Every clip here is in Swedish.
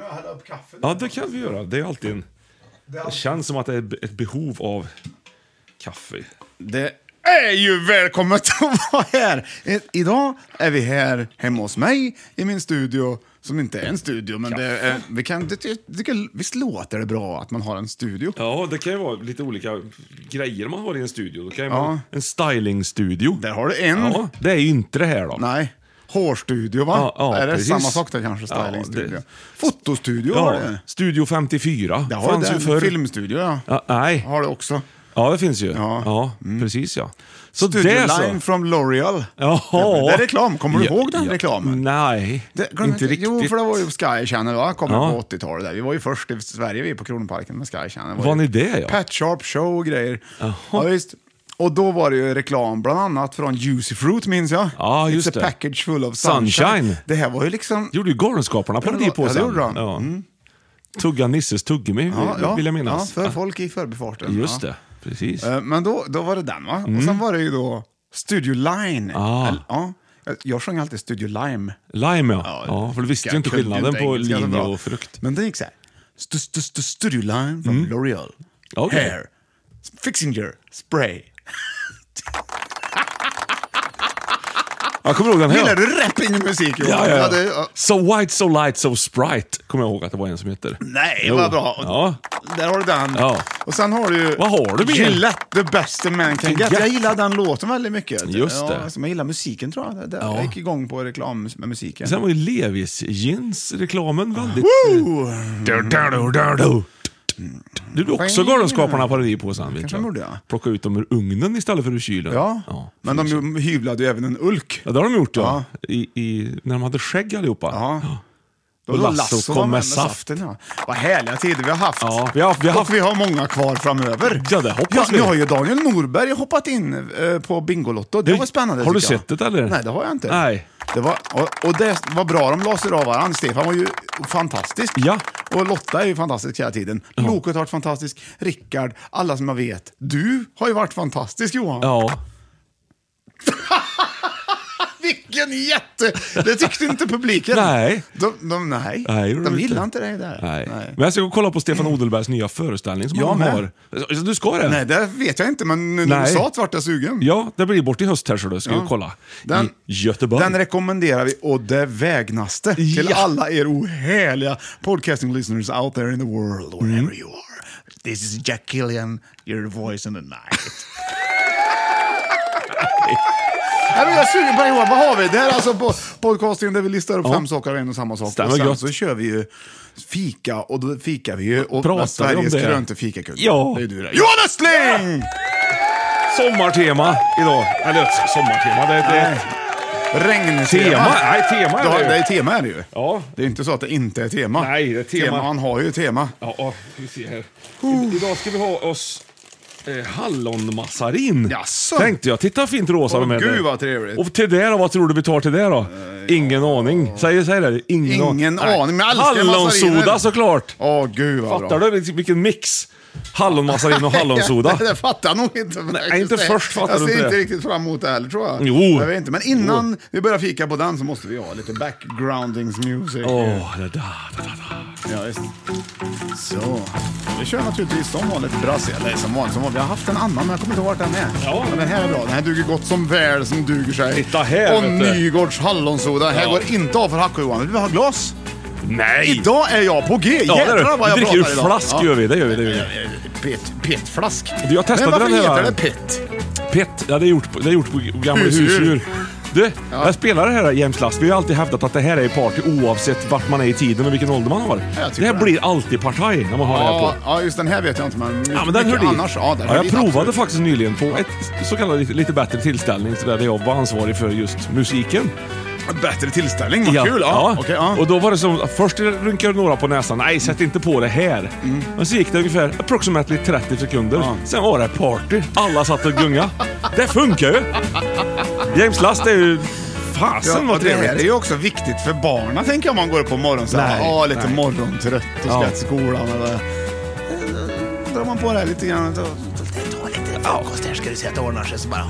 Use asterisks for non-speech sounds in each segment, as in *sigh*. Jag häller upp kaffe. Ja, det kan vi göra. Det är alltid en... Det är Det allt. känns som att det är ett behov av kaffe. Det är ju välkommet att vara här! I- Idag är vi här hemma hos mig i min studio, som inte är en studio, men det är, vi kan, det, det, det, visst låter det bra att man har en studio? Ja, det kan ju vara lite olika grejer man har i en studio. Då kan ju Ja. man, en stylingstudio. Där har du en. Ja, det är ju inte det här då. Nej. Hårstudio, va? Ja, ja, är det precis. samma sak där kanske? Ja, Stylingstudio. det- Fotostudio har Ja, det. Studio 54. Det har fanns det. ju förr. Filmstudio, ja. Ja, nej, Har det också. ja det finns ju. Ja, Ja. Mm. precis ja. Så Studio det Line så. from L'Oreal. Jaha. Det är reklam. Kommer du ihåg den reklamen? Nej, Det, glöm inte riktigt. Jo, för det var ju Sky Channel, va? Kommer Ja. på 80-talet. där. Vi var ju först i Sverige vi på Kronparken med Sky Channel. Var ju ni det, ja? Pat Sharp show och grejer. Ja, visst. Och då var det ju reklam bland annat från Juicy Fruit, minns jag. Ja, just It's a det. package full of sunshine. Sunshine. Det här var ju liksom... gjorde ju Galenskaparna parodi Ja, på det sen. gjorde de. Ja. Tugga Nisses tuggummi, vill jag minnas. Ja, för folk i förbifarten. Just ja. det, precis. Eh, Men då, då var det den, va? Och sen var det ju då Studio Line. Ah. Eller, Ja. Jag- Jag sjöng alltid Studio Lime. Lime ja. ja. för du visste jag ju inte kunde skillnaden inte på engelska så linje bra. och frukt. Mm. Men det gick så här. Stu- stu- stu- Studio Line från L'Oreal. Okej. Hair. Fixinger. Spray. Jag kommer ihåg den här. Gillar du rapping musik Johan? Ja, ja, det- ja. So white, so light, so sprite, kommer jag ihåg att det var en som heter. Nej, Jo. vad bra. Ja. Där har du den. Ja. Och sen har du ju... Vad har du mer? Gillette, the best a man can get. Get. Jag gillar den låten väldigt mycket. Just ja, det. Alltså, jag gillar musiken tror jag. Det- det- Ja. Jag gick igång på reklam med musiken. Sen var ju Levis jeans-reklamen väldigt... Mm. Woo! Du gjorde också Galenskaparna parodi på sen. vet Kanske jag. de gjorde, ja. Plocka ut dem ur ugnen istället för ur kylen. Ja, men de ju- hyvlade ju även en ulk. Ja, det har de gjort ja. Ja. I, i, när de hade skägg allihopa. Ja. Då Och låg Lasso Lasso kom med med saft. saften. Ja. Vad härliga tider vi har haft. Ja, vi har- vi har haft- Och vi har många kvar framöver. Ja, det hoppas ja, vi. Nu har ju Daniel Norberg hoppat in eh, på Bingolotto. Det Du- var spännande har du tycker jag. sett det, eller? Nej, det har jag inte. Nej. Det var, och, och det var bra de la sig av varandra. Stefan var ju fantastisk. Ja. Och Lotta är ju fantastisk hela tiden. Loket har varit fantastisk. Rickard, alla som jag vet. Du har ju varit fantastisk Johan. Ja. Vilken jätte! Det tyckte inte *laughs* publiken. Nej. De, de, nej. Nej, gjorde de du gillar inte dig där. Nej. Men jag ska gå och kolla på Stefan Odelbergs nya föreställning som Mm. Jag han med. har. Du ska det? Nej, det vet jag inte, men nu när du Nej. sa att vart jag sugen. Ja, det blir bort i höst här så du ska Ja. vi kolla. Den- I Göteborg. Den rekommenderar vi och det vägnaste till Ja. alla er ohärliga podcasting listeners out there in the world, wherever you are. This is Jack Killian, your voice in *laughs* the night. Nej, men jag är sugen på det Johan, vad har vi? Det här är alltså po- podcastingen där vi listar upp fem saker av en och samma sak. Stämmer och sen gott. så kör vi ju fika och då fikar vi ju. Och Pratar vi om Sveriges det? krönte fikakung. Ja. Det är du där. Johan Östling! Sommartema idag. Eller sommartema, det är det är ett Regntema. tema. Nej, tema Ja, är det det är ju. tema är det ju. Ja. Det är inte så att det inte är tema. Nej, det är tema. Han har ju tema. Ja, ja, vi ser här. I, idag ska vi ha oss eh, hallonmassarin. Jaså? Tänkte jag. Titta fint rosa Åh, med gud, det. vad trevligt. Och till det då, vad tror du vi tar till det då? Ingen aning. Säg, säg det. Ingen, Eh, Ingen aning, men jag älskar Hallonsoda massariner. såklart. Åh gud vad bra. Fattar du vilken- vilken mix? *laughs* Hallonmassarin och hallonsoda. det, det fattar jag nog inte. Nej, inte först fattar jag du ser inte inte det. riktigt fram emot det heller tror jag. Jo. Jag vet inte. Men innan vi börjar fika på den så måste vi ha lite backgroundings music. Åh, det där. det där. Ja, visst. Så. Vi kör naturligtvis som vanligt brass, eller som vanligt, som vanligt. Vi har haft en annan men jag kommer inte ihåg vart den är. Ja. Men den här är bra, den här duger gott som väl som duger sig. Titta här, Och vet du. Nygårds hallonsoda, här Ja. går inte av för hack Johan. Vi har glas. Nej! Idag är jag på G! Ja, det är Jädrar det. vad jag Vi dricker pratar ur idag. flask Ja. gör vi, det gör vi. Det gör vi. Pet, petflask. Du, jag testade Men varför den här- heter det pet? Pett, ja det är gjort på, det är gjort på gamla Husdjur. husdjur. Du, jag spelar det här jämt last. Vi har alltid hävdat att det här är party oavsett vart man är i tiden och vilken ålder man har. jag tycker Det här det. blir alltid partaj när man har det här på. Ja, ja, just den här vet jag inte men mycket, Ja, men den hör mycket dit. annars. Ja, den ja, hör jag dit, provade absolut. faktiskt nyligen på ett så kallat lite, lite bättre tillställning så där jag var ansvarig för just musiken. Bättre tillställning, vad kul! Ja. Okej, ja. Och då var det som, först rynkade några på näsan, nej sätt inte på det här. Mm. Men så gick det ungefär approximately 30 sekunder, sen var det party. Alla satt och gunga. det funkar ju! James Last är ju, fasen Ja, vad och det här är trevligt. ju också viktigt för barnen, tänker jag, om man går upp på morgonen så här, Nej, ja, lite nej. morgontrött och ska Ja. till skolan eller... Eh, då drar man på det här lite grann. Då, ta lite frukost här ska du se att det ordnar sig. Så bara...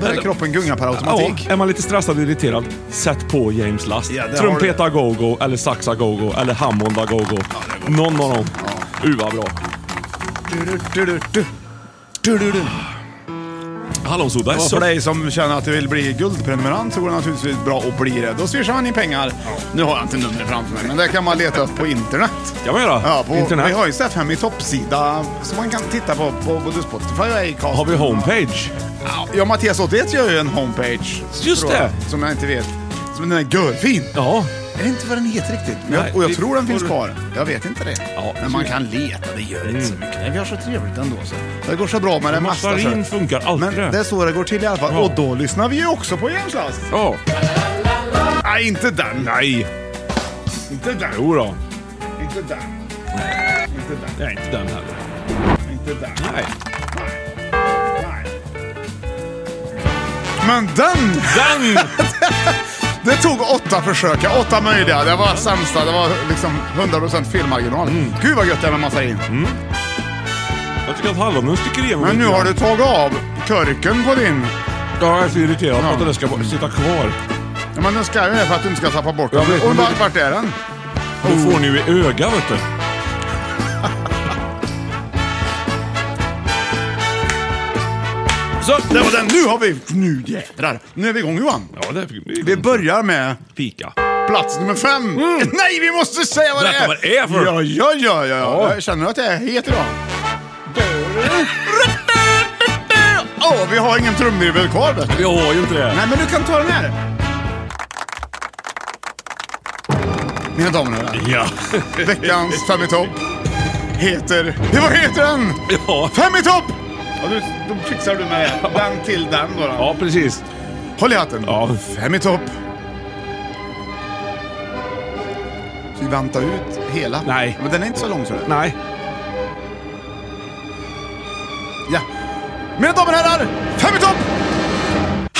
Börjar kroppen gunga per Ja, automatik. är man lite stressad och irriterad, sätt på James Last. Ja, där har Trumpeta go-go, eller saxa go-go, eller Hammond go-go. Någon av dem. Uh, vad bra. Du, du, du, du. Du, du, du. Hallonsoda är Och så... för dig som känner att du vill bli guldprenumerant så går det naturligtvis bra att bli det. Då swishar man in pengar. Nu har jag inte numret framför mig, men det kan man leta upp på internet. Kan man göra? Ja, på, Internet. Vi har ju Staffham i toppsida som man kan titta på på både Spotify och Acast. Har vi homepage? Ja, Mattias 81 gör ju en homepage. Just tror jag, det. Som jag inte vet. Som den är görfin. Ja. Jag vet inte vad den heter riktigt. Men Nej, jag, och jag det tror den får finns du- kvar. Jag vet inte det. Ja, men man kan leta, det gör inte så Mm. mycket. Nej, vi har så trevligt ändå. Så. Det går så bra med det mesta. så. Massarin funkar Men alltid. det är så det går till i alla fall. Ja. Och då lyssnar vi ju också på Jens Last. Ja. Nej, inte den. Nej. Inte den. Jo då. Inte den. Inte den. Nej, inte den heller. Inte den. Nej. Nej. Men den! Den! *laughs* Det tog åtta försök, ja, åtta möjliga. Det var sämsta, det var liksom 100% felmarginal. Gud vad gött det är med massarin. Jag tycker att hallonen sticker igenom Men nu lite har grann. du tagit av körken på din. Ja, jag är så irriterad på Ja. att den ska bara sitta kvar. Ja, men den ska ju det för att du inte ska tappa bort den. Jag vet, Och men- vart, vart är den? Då får ni ju i öga, vet du. Så! Där var den. Nu har vi... Nu jädrar. Nu är vi igång Johan. Ja, det är Vi börjar med Pika. plats nummer fem. Nej, vi måste säga Mm. vad det Berätta är! vad det är för- Ja, ja, ja, ja. Ja. Jag känner att jag är het idag. Åh, vi har ingen trumvirvel kvar vet du. Vi har ju inte det. Nej, men du kan ta den här. Mina damer och herrar, Ja. *laughs* *laughs* veckans Fem i topp heter... Ja, vad heter den? Ja. Fem i topp! Ja, du, då fixar du med den till den då. då. Ja, precis. Håll i hatten. Ja. Fem i topp. Så vi vantar ut hela. Nej. Men den är inte så lång så det. Nej. Ja. Mina damer och herrar, fem i topp!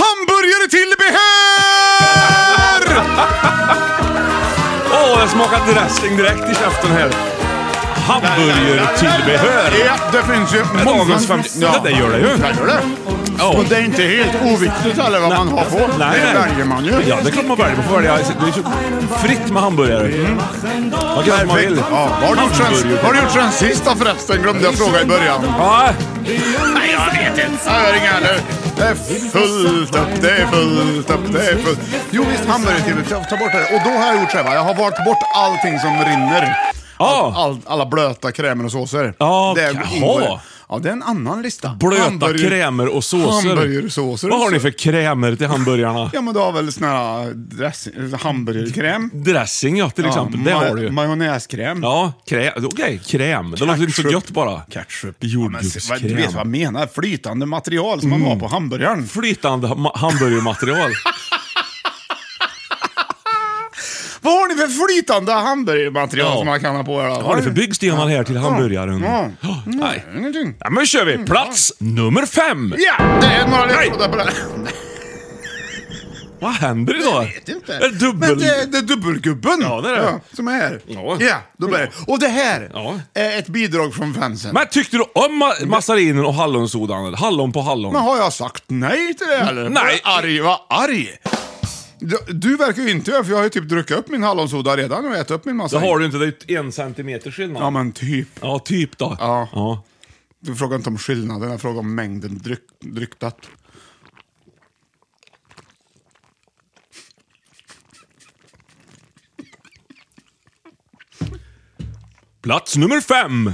Hamburgare till behör! Åh, jag smakar dressing direkt i käften här. Hamburgertillbehör. Ja, det finns ju många... dagens fem- Det där gör det ju. Det gör det. Ja. Och det är inte helt oviktigt heller vad man har på. Nej, det nej. väljer man ju. Ja, det är klart man väljer. Man får välja. Det är så fritt med hamburgare. Man kan göra som man vill. Perfekt. Ja, vad har du gjort sen- Hamburgare. vad har du gjort sen sist då förresten? Glömde jag fråga i början. Ja, Nej, jag vet inte. Jag hör inga heller. Det är fullt upp, det är fullt upp, det är fullt. Jo visst, hamburgertimme. Ta, ta bort det. Och då har jag gjort så här va. Jag har valt bort allting som rinner. Ja. All, all, alla blöta krämer och såser. Ja, det jaha. ingår. Ja, det är en annan lista. blöta Hamburger- krämer och såser. Hamburgersåser. Vad har ni för krämer till hamburgarna? *laughs* Ja men du har väl sån här dressing, hamburgerkräm. Dressing ja, till exempel. Det Ja, har du ma- ju. Majonnäskräm. Ja, krä- okej, kräm. Det låter inte så Ketchup. gött bara. Ketchup. Ja, men se- vad- Du vet Jordgubbskräm. Mm. vad jag menar? Flytande material som man har på hamburgaren. *laughs* Flytande ha- ma- hamburgermaterial. Vad har ni för flytande hamburgermaterial Ja. som man kan ha på er? då? Vad har ni för byggstenar här till hamburgaren? Ja. Mm. Ja, *gasps* Nej. Ingenting. Ja, men kör vi. Plats nummer fem. Ja, det är några ledtrådar på det. Vad händer idag? Jag vet inte. Är det dubbel... Men eh, det, det är dubbelgubben. Ja, det är det. som är här. Ja. då blir det. Och det här Ja. är ett bidrag från fansen. Men tyckte du om ma- mazarinen och hallonsodan? eller? Hallon på hallon? Men har jag sagt nej till det eller? Nej. Vad arg, vad arg. Du, du verkar ju inte göra för jag har ju typ druckit upp min hallonsoda redan och ätit upp min Det massa. har du inte, det är ju en centimeter skillnad. Ja men typ. Ja, typ då. Ja. Du frågar inte om skillnaden, jag frågar om mängden dryck, dryktat. Plats nummer fem.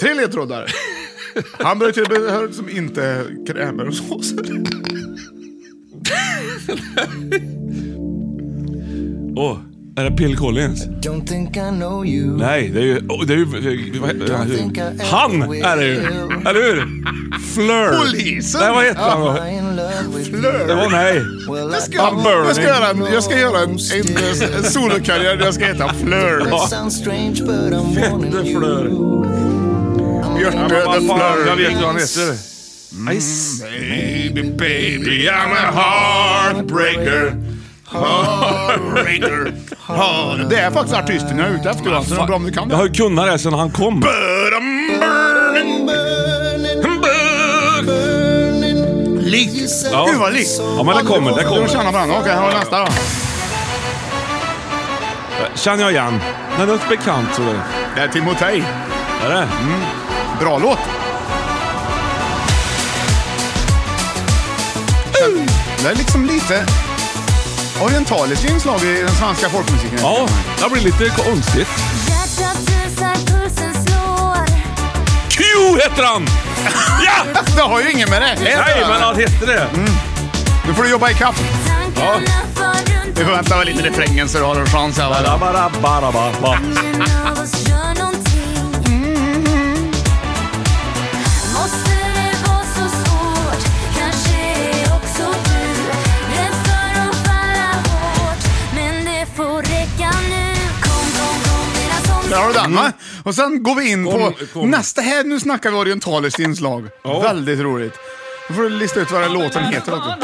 Tre ledtrådar. typ- Hamburgertillbehör som liksom inte är krämer och såser. Åh, är det Phil Collins? Don't think I know you. Nej, det är ju... åh, det är ju vad heter- hur- han är det ju! Eller hur? Fleur. Polisen. Nej, vad heter han då? in love with Det var nej. Jag ska, jag ska göra en, jag ska göra en, en, en solokarriär där jag ska heta Fleur. Sounds strange but I'm Fette Fleur. Ja, men Björte vad the fan, jag vet Fleur. hur han heter. Nice. Baby, baby, I'm a heartbreaker. Heartbreaker. Heart- Det är faktiskt artisten jag är ute efter Johan, så det är bra om du kan Jag har det. ju kunnat det sen han kom. But I'm burning, burning. Likt. Ja. Gud vad likt. Ja, men det kommer, det De kommer. tjänar varandra. Okej, här har vi nästa då. Eh, Känner jag igen. Den är bekant, tror jag. Det är Timotej. Är det? Bra låt. Det är liksom lite orientaliskt inslag i den svenska folkmusiken. Ja, det blir lite konstigt. Q heter han! *laughs* Ja! *laughs* Det har ju inget med det här att Nej, göra. men han Mm. hette det. Nu får du jobba ikapp. Ja. Vi får vänta väl in i refrängen så du har en chans. Här, va? Rabarabarababa. Där har du den va? Och sen går vi in Kom, på kom. nästa. Här nu snackar vi orientaliskt inslag. Ja. Väldigt roligt. Då får du lista ut vad den låten heter också.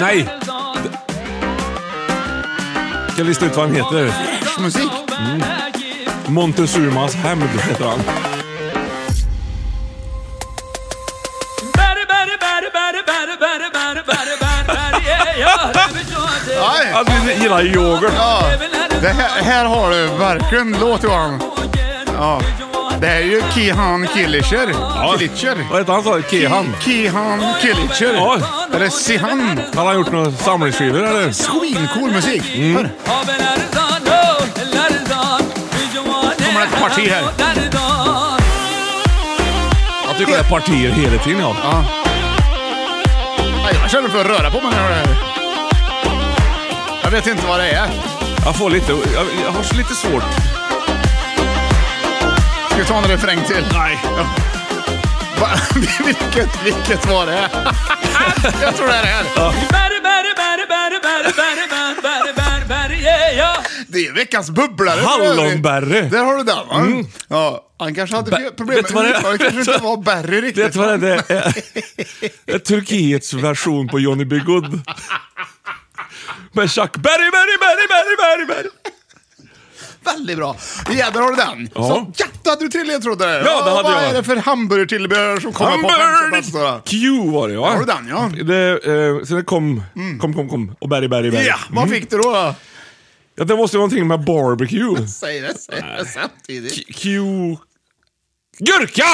Nej! Ska jag lista ut vad han heter? Musik. Mm. Montezumas hämnd heter han. Nej. Han gillar yoghurt. Ja. Det här, här har du verkligen låt Johan. Ja. Det här är ju Kihan Killicher. Killicher. Vad heter han sa du? Kehan? Kihan Killicher. Ja. Eller Sihan. Har han gjort några samlingsskivor eller? Mm. Svincool musik. Hör. Kommer det ett parti här? Jag tycker det är partier hela tiden ja. Ja, Jag känner för att röra på mig när jag hör det här. Jag vet inte vad det är. Jag får lite, jag, jag har så lite svårt. Ska vi ta en refräng till? Nej. Va? *laughs* Vilket, vilket var det? *laughs* Jag tror det är det här. Det är veckans bubblare. Hallonberry. Där har du den va? Ja, han kanske hade Bä- problem vet du vad det är? uttalet, kanske inte var Barry riktigt. Vet du vad det är? Det är- det är Turkiets version på Johnny B. Good. Med Chuck Berry, Berry, Berry, Berry, Berry, Berry. Väldigt bra. Ja, där har du den. Ja. Så, ja, då hade du tre ledtrådar. där. Ja, det hade vad jag. är det för hamburgertillbehör som kommer på femte plats då, då? Hamburg Q var det va? Har du den, ja? Det, eh, så det kom, kom, kom, kom och Berry, Berry, Berry. Ja, vad fick du då? Mm. Ja, det måste ju vara någonting med barbecue. Säg det, säg det samtidigt. Q... Gurka!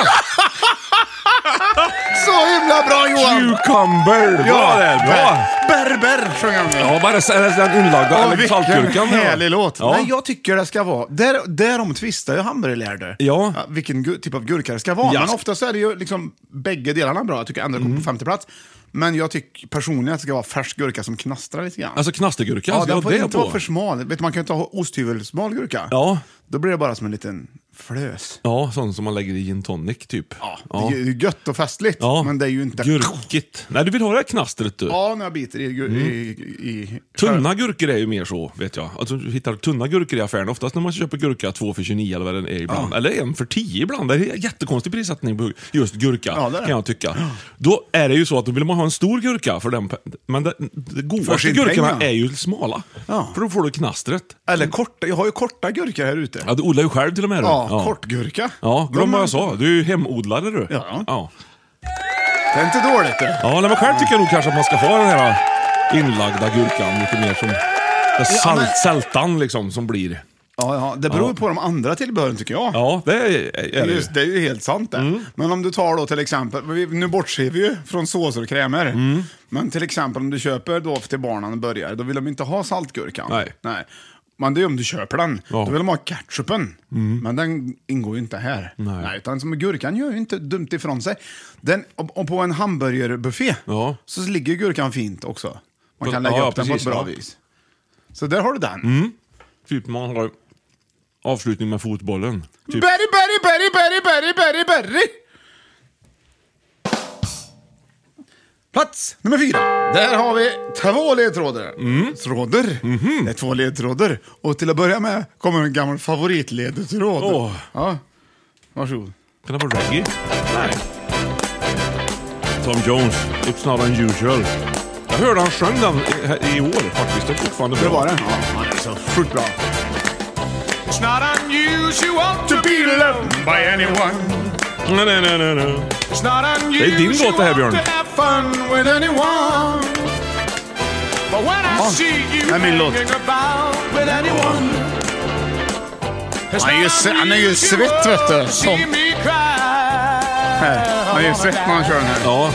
Så himla bra Johan! Cucumber! Bra där, bra! Berber sjöng han med. Ja, bara s- eller den inlagda, Ja, eller vilken saltgurkan. ja. härlig låt. Ja. Nej, jag tycker det ska vara... Där, därom tvistar ju hamburgerlärde. Ja. Vilken gu- typ av gurka det ska vara. Ja. Mm. Men ofta så är det ju liksom bägge delarna bra. Jag tycker ändå det kommer på femte plats. Men jag tycker personligen att det ska vara färsk gurka som knastrar lite grann. Alltså knastergurka, ja, ska den jag får ha det inte på? vara för smal. Vet du, man kan ju inte ha osthyvelsmal gurka. Ja. Då blir det bara som en liten flös. Ja, sån som man lägger i gin tonic typ. Ja. Det är ju gött och festligt, Ja. men det är ju inte... Gurkigt. Nej, du vill ha det här knastret du. Ja, när jag biter i, gu- i, i, i Tunna gurkor är ju mer så, vet jag. Alltså, du hittar tunna gurkor i affären. Oftast när man köper gurka, två för 29 eller vad den är ibland. Eller en för 10 ibland. Det är jättekonstig prissättning på just gurka, Ja, det är det. kan jag tycka. Då är det ju så att då vill man ha en stor gurka, för den, pe- men det, det godaste sin gurkorna peng, ja. är ju smala. Ja. För då får du knastret. Eller korta, jag har ju korta gurkor här ute. Ja, du odlar ju själv till och med. du. Ja, kortgurka. Ja, glöm De- vad jag sa. Du är ju hemodlare du. Ja. ja. Det är inte dåligt det. Ja, nej, men själv tycker jag nog kanske att man ska ha den här inlagda gurkan lite mer som det salt, men- sältan liksom som blir. Ja, ja, det beror Ja. på de andra tillbehören tycker jag. Ja, det är, är det ju. Mm. Just, det är ju helt sant det. Men om du tar då till exempel, vi- nu bortser vi ju från såser och krämer. Mm. Men till exempel om du köper då till barnen och börjar, då vill de inte ha saltgurkan. Nej. Men det är om du köper den, Ja. Mm. då vill de ha ketchupen. Men den ingår ju inte här. Nej. utan som gurkan gör ju inte dumt ifrån sig. Den, och, och på en hamburgerbuffé Ja. så ligger gurkan fint också. Man Ja, kan lägga ja, upp den på ett precis, bra ja. Mm. vis. Så där har du den. Typ man har avslutning med fotbollen. Typ. Berry, berry, berry, berry, berry, berry, berry! Plats nummer fyra. Där har vi två ledtrådar. Trådar. Det är två ledtrådar. Och till att börja med kommer en gammal favoritledtråd. Åh. Ja. Varsågod. Kan det vara reggae? Nej. Tom Jones, It's not unusual. Jag hörde han sjöng den i, i år faktiskt. Det är fortfarande Det bra. var den. Ja, han är så sjukt bra. It's not unusual To be loved by anyone. Nej, nej, nej, nej, nej. It's not unusual Det är din låt det här, Björn. to have fun with anyone. But when I Ja, see you det är min låt. hanging about with anyone Han är ju, se- han är ju svett vet du. Som See me cry här. Han är ju svett när han kör den här. Ja,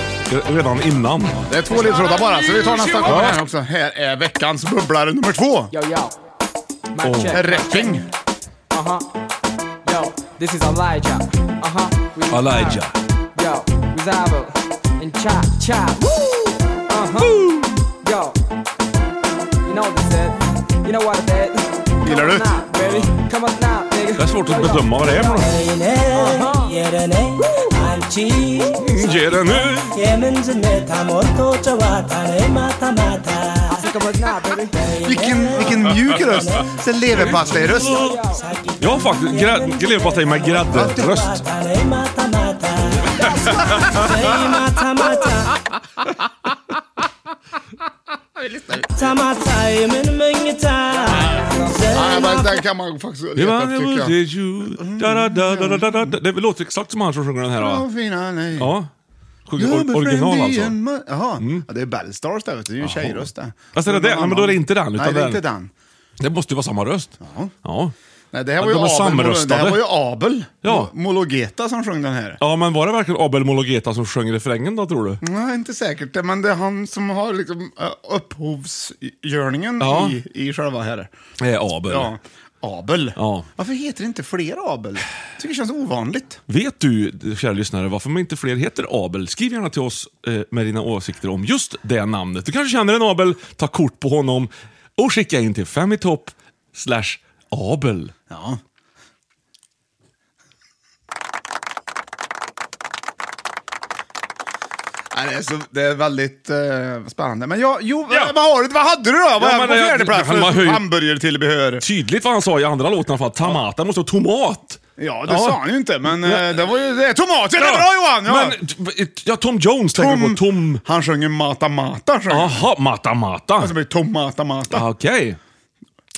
redan innan. Det är två ledtrådar bara, så vi tar nästa gång här också. Här är veckans bubblare nummer två. Yo, yo. Mic Oh. check. Rapping. Uh huh. Yo, this is Elijah. Uh huh. Elijah. Yo, Revival. And Cha Cha. Uh huh. Yo. You know what it said. You know what it said. Gillar Come du? on now, baby. Come on now, nigga. Det er är svårt att bedöma vad det är för Uh-huh. något. Mm, Ge den nu. Come on now, baby. Vilken, vilken mjuk röst. Sen leverpastejröst. Jag har faktiskt grä- leverpastej med gräddröst. Nej, men den kan man faktiskt leta upp tycker jag. Det låter exakt som han som sjunger den här. Ja, va? fina nej. Ja. Sjunger You're my or- original friend alltså. in my- Jaha, ja, det är Bellstars där vet du. Det är ju en tjejröst där. Alltså, det är det. Nej, men då är det inte den, utan Nej, det är den- inte den. Det måste ju vara samma röst. Ja. Nej, det här var ju De är Abel. Det samröstade. här var ju Abel. Ja. Mologeta som sjöng den här. Ja, men var det verkligen Abel Mologeta som sjöng refrängen då, tror du? Nej, inte säkert. Men det är han som har liksom eh, upphovsgörningen Ja. i, i själva här. Eh, Abel. Ja. Abel. Ja. Varför heter det inte fler Abel? Tycker det känns ovanligt. Vet du, kära lyssnare, varför man inte fler heter Abel? Skriv gärna till oss eh, med dina åsikter om just det namnet. Du kanske känner en Abel, ta kort på honom och skicka in till fem i topp slash Abel. Ja. Nej, det, är så, det är väldigt eh, spännande. Men jag, jo, Ja. eh, vad har du? Vad hade du då? Vad Ja, är men på jag- fjärde plats? han var höj- Hamburgertillbehör. Tydligt vad han sa i andra låten i alla fall. Tamata måste ha tomat. Ja, det sa han ju inte, men eh, det var ju... Det är tomat! Ja, det är bra Johan! Ja. Men, t- ja, Tom Jones tänker jag på. Tom... Han sjunger Mata Mata. Sjunger. han. Aha, Mata Mata. Alltså, det blir Tomata Mata. Ah, Okej.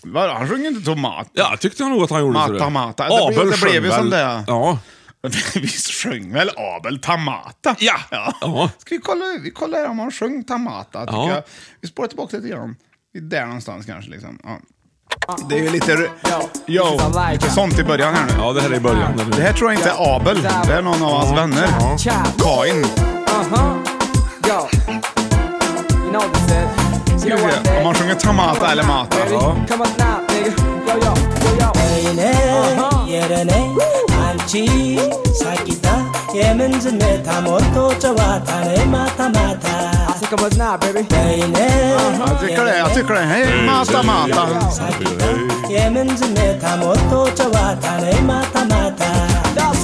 Vadå, Han sjunger inte tomat. Ja, tyckte jag nog att han gjorde. Mata så det. Mata. Det blev- Abel det blev sjöng ju som väl- det. Ja. *laughs* Visst sjöng väl Abel Tamata? Ja. Ja. Ska vi kolla vi kollar om han sjöng Tamata? tycker Ja. jag. Vi spårar tillbaka lite grann. Vi är där någonstans kanske. Liksom. Ja. Det är ju lite, yo, lite sånt i början här nu. ja, det här är i början. Det här tror jag inte är Abel. Det är någon av hans vänner. Kain. Uh huh. Yo. You know what it said. You Ska know vi what it se om han said. sjunger Tamata eller Mata. Baby, Come on now, nigga. Yo, yo, yo, yo. Uh-huh. I said, come on now, baby. Jag tycker det. Jag tycker det. Hej, Mata Mata. That's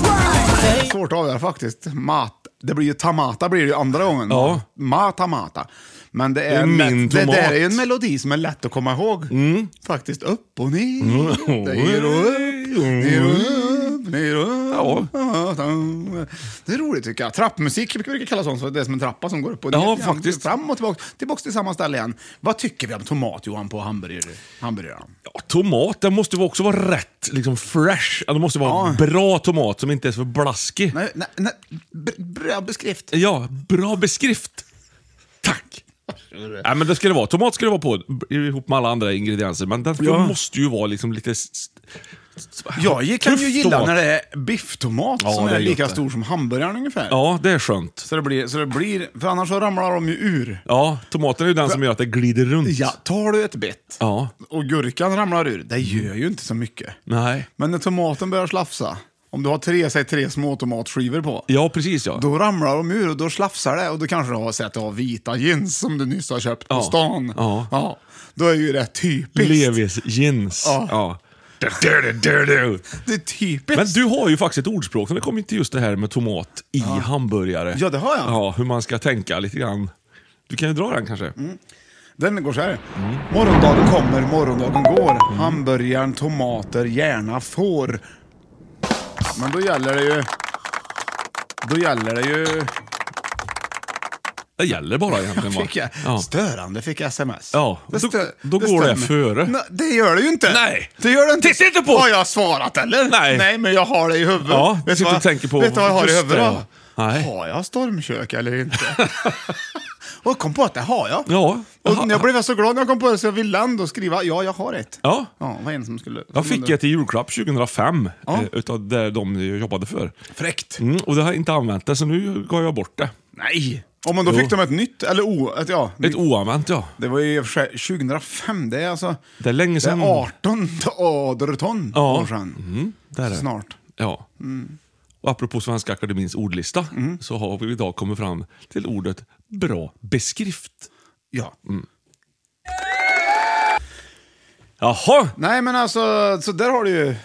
right. Svårt att avgöra faktiskt. Mat. Det blir ju Tamata blir det ju andra gången. Ja. Mata Mata. Men det Det är, är min lätt, det tomat. Mm. där är ju en melodi som är lätt att komma ihåg. Faktiskt upp och ner, ner och upp, ner och upp, Mm. ner och upp. Det är roligt tycker jag. Trappmusik brukar vi kalla sånt, så det är som en trappa som går upp och ner. Ja, igen, faktiskt. Fram och tillbaka, tillbaka till samma ställe igen. Vad tycker vi om tomat Johan på hamburgare- hamburgaren? Ja, tomat, den måste ju också vara rätt liksom fresh. Ja, Det måste vara bra tomat som inte är så blaskig. Nej, nej, nej, br- bra beskrift. Ja, bra beskrift. Tack. Nej, men det ska det vara. Tomat ska det vara på b- ihop med alla andra ingredienser. Men den Ja. måste ju vara liksom lite... s- s- s- Jag kan ju tuff gilla tomat. när det är bifftomat Ja, som det är är gott lika det. stor som hamburgaren ungefär. Ja, det är skönt. Så det blir, så det blir, för annars så ramlar de ju ur. Ja, tomaten är ju den som gör att det glider runt. Ja, tar du ett bett Ja. Mm. och gurkan ramlar ur, det gör ju inte så mycket. Nej. Men när tomaten börjar slafsa, om du har tre, säg tre små tomatskivor på, Ja, precis ja. då ramlar de ur och då slafsar det och då kanske du har sett av vita jeans som du nyss har köpt på Ja. stan. Ja. Då är ju det typiskt. Levis jeans. Ja. Ja. Du, du, du, du, du. Det är typiskt. Men du har ju faktiskt ett ordspråk som det kommer till just det här med tomat i hamburgare. Ja, det har jag. Ja, hur man ska tänka lite grann. Du kan ju dra den kanske. Mm. Den går så här. Morgondagen kommer, morgondagen går. Hamburgaren, tomater, gärna får. Men då gäller det ju... Då gäller det ju... Det gäller bara egentligen va? *laughs* Fick jag, Ja. Störande fick jag sms. Ja, Det då- stö- då går stör det mig. före. Nej, det gör det ju inte. Nej. Det gör det inte. Titta inte på- Har jag svarat eller? Nej. Nej, men jag har det i huvudet. Ja, du vet sitter vad- och tänker på- Vet du vad jag har i just huvudet det, då? ja. Nej. Har jag stormkök eller *laughs* inte? och kom på att det har jag. Ja. Och jag blev så glad när jag kom på det så jag ville ändå skriva ja, jag har ett. Ja. Ja, vad är det som skulle... Jag fick ett i julklapp 2005, Ja. eh, utav där de jag jobbade för. Fräckt. Mm, och det har jag inte använt det, så nu gav jag bort det. Nej. Om man då Jo. fick de ett nytt, eller o... Ett, ja, Ett oanvänt ja. Det var ju i och för sig 2005, det är alltså... Det är länge Det sedan. är 18 aderton Ja. år sedan. Där är det. Snart. Ja. Mm. Och apropå Svenska Akademins ordlista så har vi idag kommit fram till ordet bra beskrift. Ja. Jaha! Nej men alltså, så där har du ju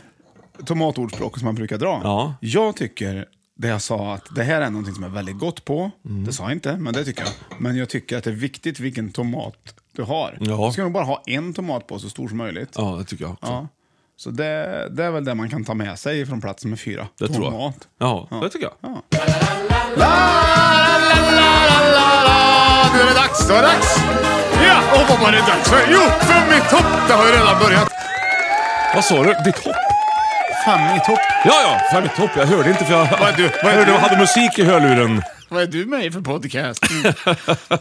tomatordspråket som man brukar dra. Ja. Jag tycker, det jag sa, att det här är någonting som jag är väldigt gott på. Mm. Det sa jag inte, men det tycker jag. Men jag tycker att det är viktigt vilken tomat du har. Ja. Ska nog bara ha en tomat på, så stor som möjligt. Ja, det tycker jag också. Ja. Så det, det är väl det man kan ta med sig från plats nummer fyra. Det tror jag. tomat. Ja, det tycker jag. Ja. Nu är det dags, då är det dags! Ja, och vad var det dags för? Jo, fem i topp! Det har ju redan börjat. Vad sa du? Ditt hopp? Fem i topp. Ja, ja! Fan, mitt hopp. Jag hörde inte för jag, Vad är du- vad är jag hörde, du? jag hade musik i hörluren. Vad är du med i *laughs* för podcast? Mm.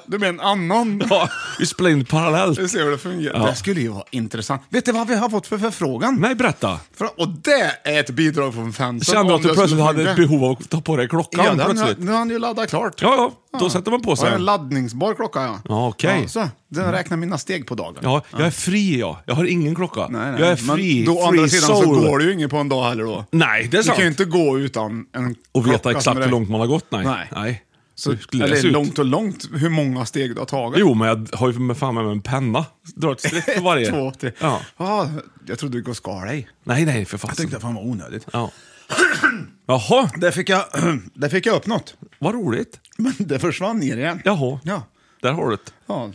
Du menar en annan? Ja, vi spelar in Vi parallellt. ser hur det fungerar. Ja. Det skulle ju vara intressant. Vet du vad vi har fått för förfrågan? Nej, berätta. Frå- Och det är ett bidrag från fansen. Kände om att du det plötsligt skulle hade funka. ett behov av att ta på dig klockan Ja, den, plötsligt? nu har han ju laddat klart. Ja, ja, då sätter man på Och sig. en laddningsbar klocka, ja. Ja, okej. Mm. Ja, så. Den räknar mina steg på dagen. Ja, jag är fri jag. Jag har ingen klocka. Nej, nej. Jag är fri. Men då å free andra sidan soul. så går det ju inget på en dag heller då. Nej, det är Du sant. kan ju inte gå utan en Och veta klocka som exakt hur räknar. långt man har gått, nej. Nej. Så, Så, eller långt och långt, hur många steg du har tagit. Jo, men jag har ju med fan med mig en penna. Drar ett streck på varje. *laughs* Två, tre. Ja. Alltså. Ah, jag trodde du gick och skar dig. Nej, nej, för fan. Jag tänkte att fan var onödigt. Ja. Jaha, Där fick, jag, *clears throat* där fick jag upp något, vad roligt. men det försvann ner igen. Jaha, Ja. där har du det. ja.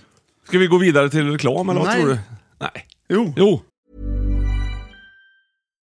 Ska vi gå vidare till reklam, eller vad Nej. tror du? Nej. Jo. Jo.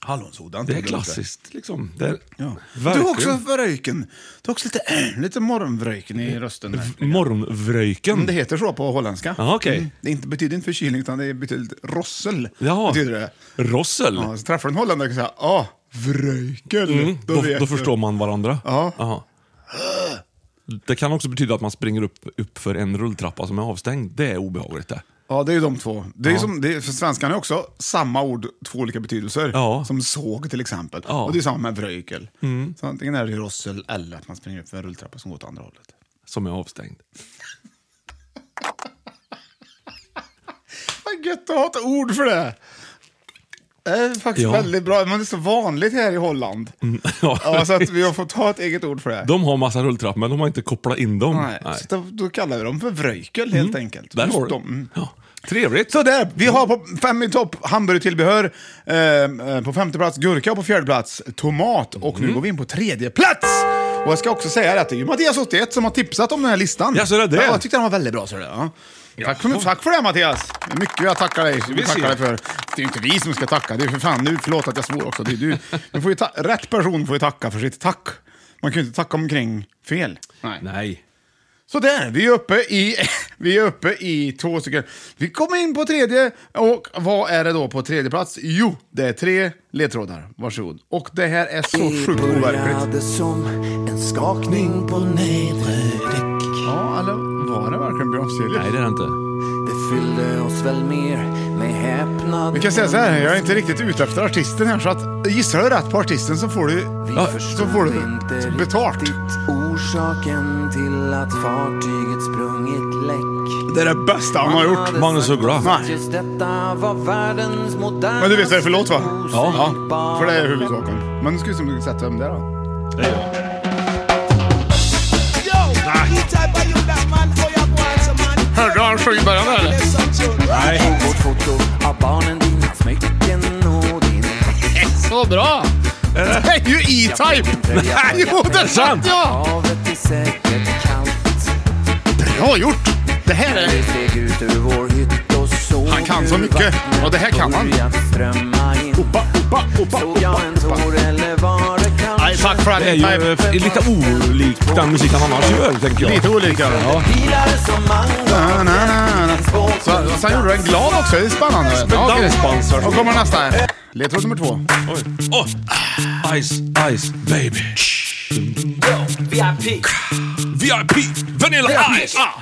Hallonsodan. Det är tog du lite. klassiskt liksom. Det är, Ja. Du Verkligen. har också vröjken. Du har också lite, *clears throat* lite morgonvröjken i rösten. här. Mm, Morgonvröjken. Det heter så på holländska. Ja, okej. Mm. Det inte, betyder inte förkylning, utan det betyder rossel. Jaha. Betyder det. Rossel. Ja, så träffar du en holländare och säger ah, vröjken. Mm, då, vet då du. förstår man varandra. Ja. Jaha. Det kan också betyda att man springer upp, upp för en rulltrappa som är avstängd. Det är obehagligt det. Ja, det är ju de två. Det är Ja. som, det är, för svenskan är också samma ord, två olika betydelser. Ja. Som såg till exempel. Ja. Och det är samma med vröjkel. Mm. Så antingen är det ju rossel eller att man springer upp för en rulltrappa som går åt andra hållet. Som är avstängd. Vad gött att ha ett ord för det. Det är faktiskt Ja. Mm, väldigt bra, men det är så vanligt här i Holland. *laughs* Ja, så att vi har fått ha ett eget ord för det. De har massa rulltrappor men de har inte kopplat in dem. Nej. Så då, då kallar vi dem för vröjkel helt enkelt. Där Just har du. dem. Mm. Ja. Trevligt. Så där, vi har på fem i topp hamburgertillbehör, eh, eh, på femte plats gurka och på fjärde plats tomat och Mm. nu går vi in på tredje plats. Och jag ska också säga att det är ju Mattias 81 som har tipsat om den här listan. Ja, så är det det? Ja, jag tyckte den var väldigt bra. Så är det, ja. Tack, för, tack för det Mattias! Det är Mycket jag tackar dig, vi vi tackar se. dig för. Det är ju inte vi som ska tacka, det är för fan nu, förlåt att jag svor också. Det är du. Du får ju ta- rätt person får ju tacka för sitt tack. Man kan ju inte tacka omkring fel. Nej. Så där, vi är uppe i, *laughs* vi är uppe i två stycken. Vi kommer in på tredje, och vad är det då på tredje plats? Jo, det är tre ledtrådar. Varsågod. Och det här är så sjukt overkligt. Började som en skakning på nedre däck. Ja, eller var det verkligen Björn Afzelius? Nej det är det inte. Det fyllde oss väl mer med häpnad. Vi kan säga så här, jag är inte riktigt ute efter artisten här, så att gissar du rätt på artisten så får du, Ja, så får du betalt. Orsaken till att fartyget sprungit läck. Det är det bästa han har gjort. Magnus Uggla. Nej. Just detta var världens modernaste Men du vet vad det är för låt va? Ja. Ja, för det är huvudsaken. Men nu ska vi se om du kan sätta vem det är då. Hörde du han sjöng i början där eller? Nej. Vårt foto av barnen, dina smycken och din... Så bra! Det är *laughs* ju E-Type! Nej, jo, det är sant! Ja! Havet är säkert kallt. Bra gjort! Det här Vi är... steg ut ur vår hytt och såg Han kan så hur mycket. vattnet Ja, det här kan han. börjat strömma in. Opa, opa, opa, Såg jag opa, en opa. tår eller var det kanske... Nej, tack för Det är det. ju Nej, eh, lite olikt den musik han annars gör tänker jag. Lite olika. Ja. Pilare som Na, mango. na, na, na. Så, sen gjorde den glad också. Det är spännande. Ja, okej. Dansbandshörning. Då kommer nästa här. Ledtråd nummer två. Oj. Åh! Ice, ice, baby. VIP. VIP, Vanilla Ice. Ah.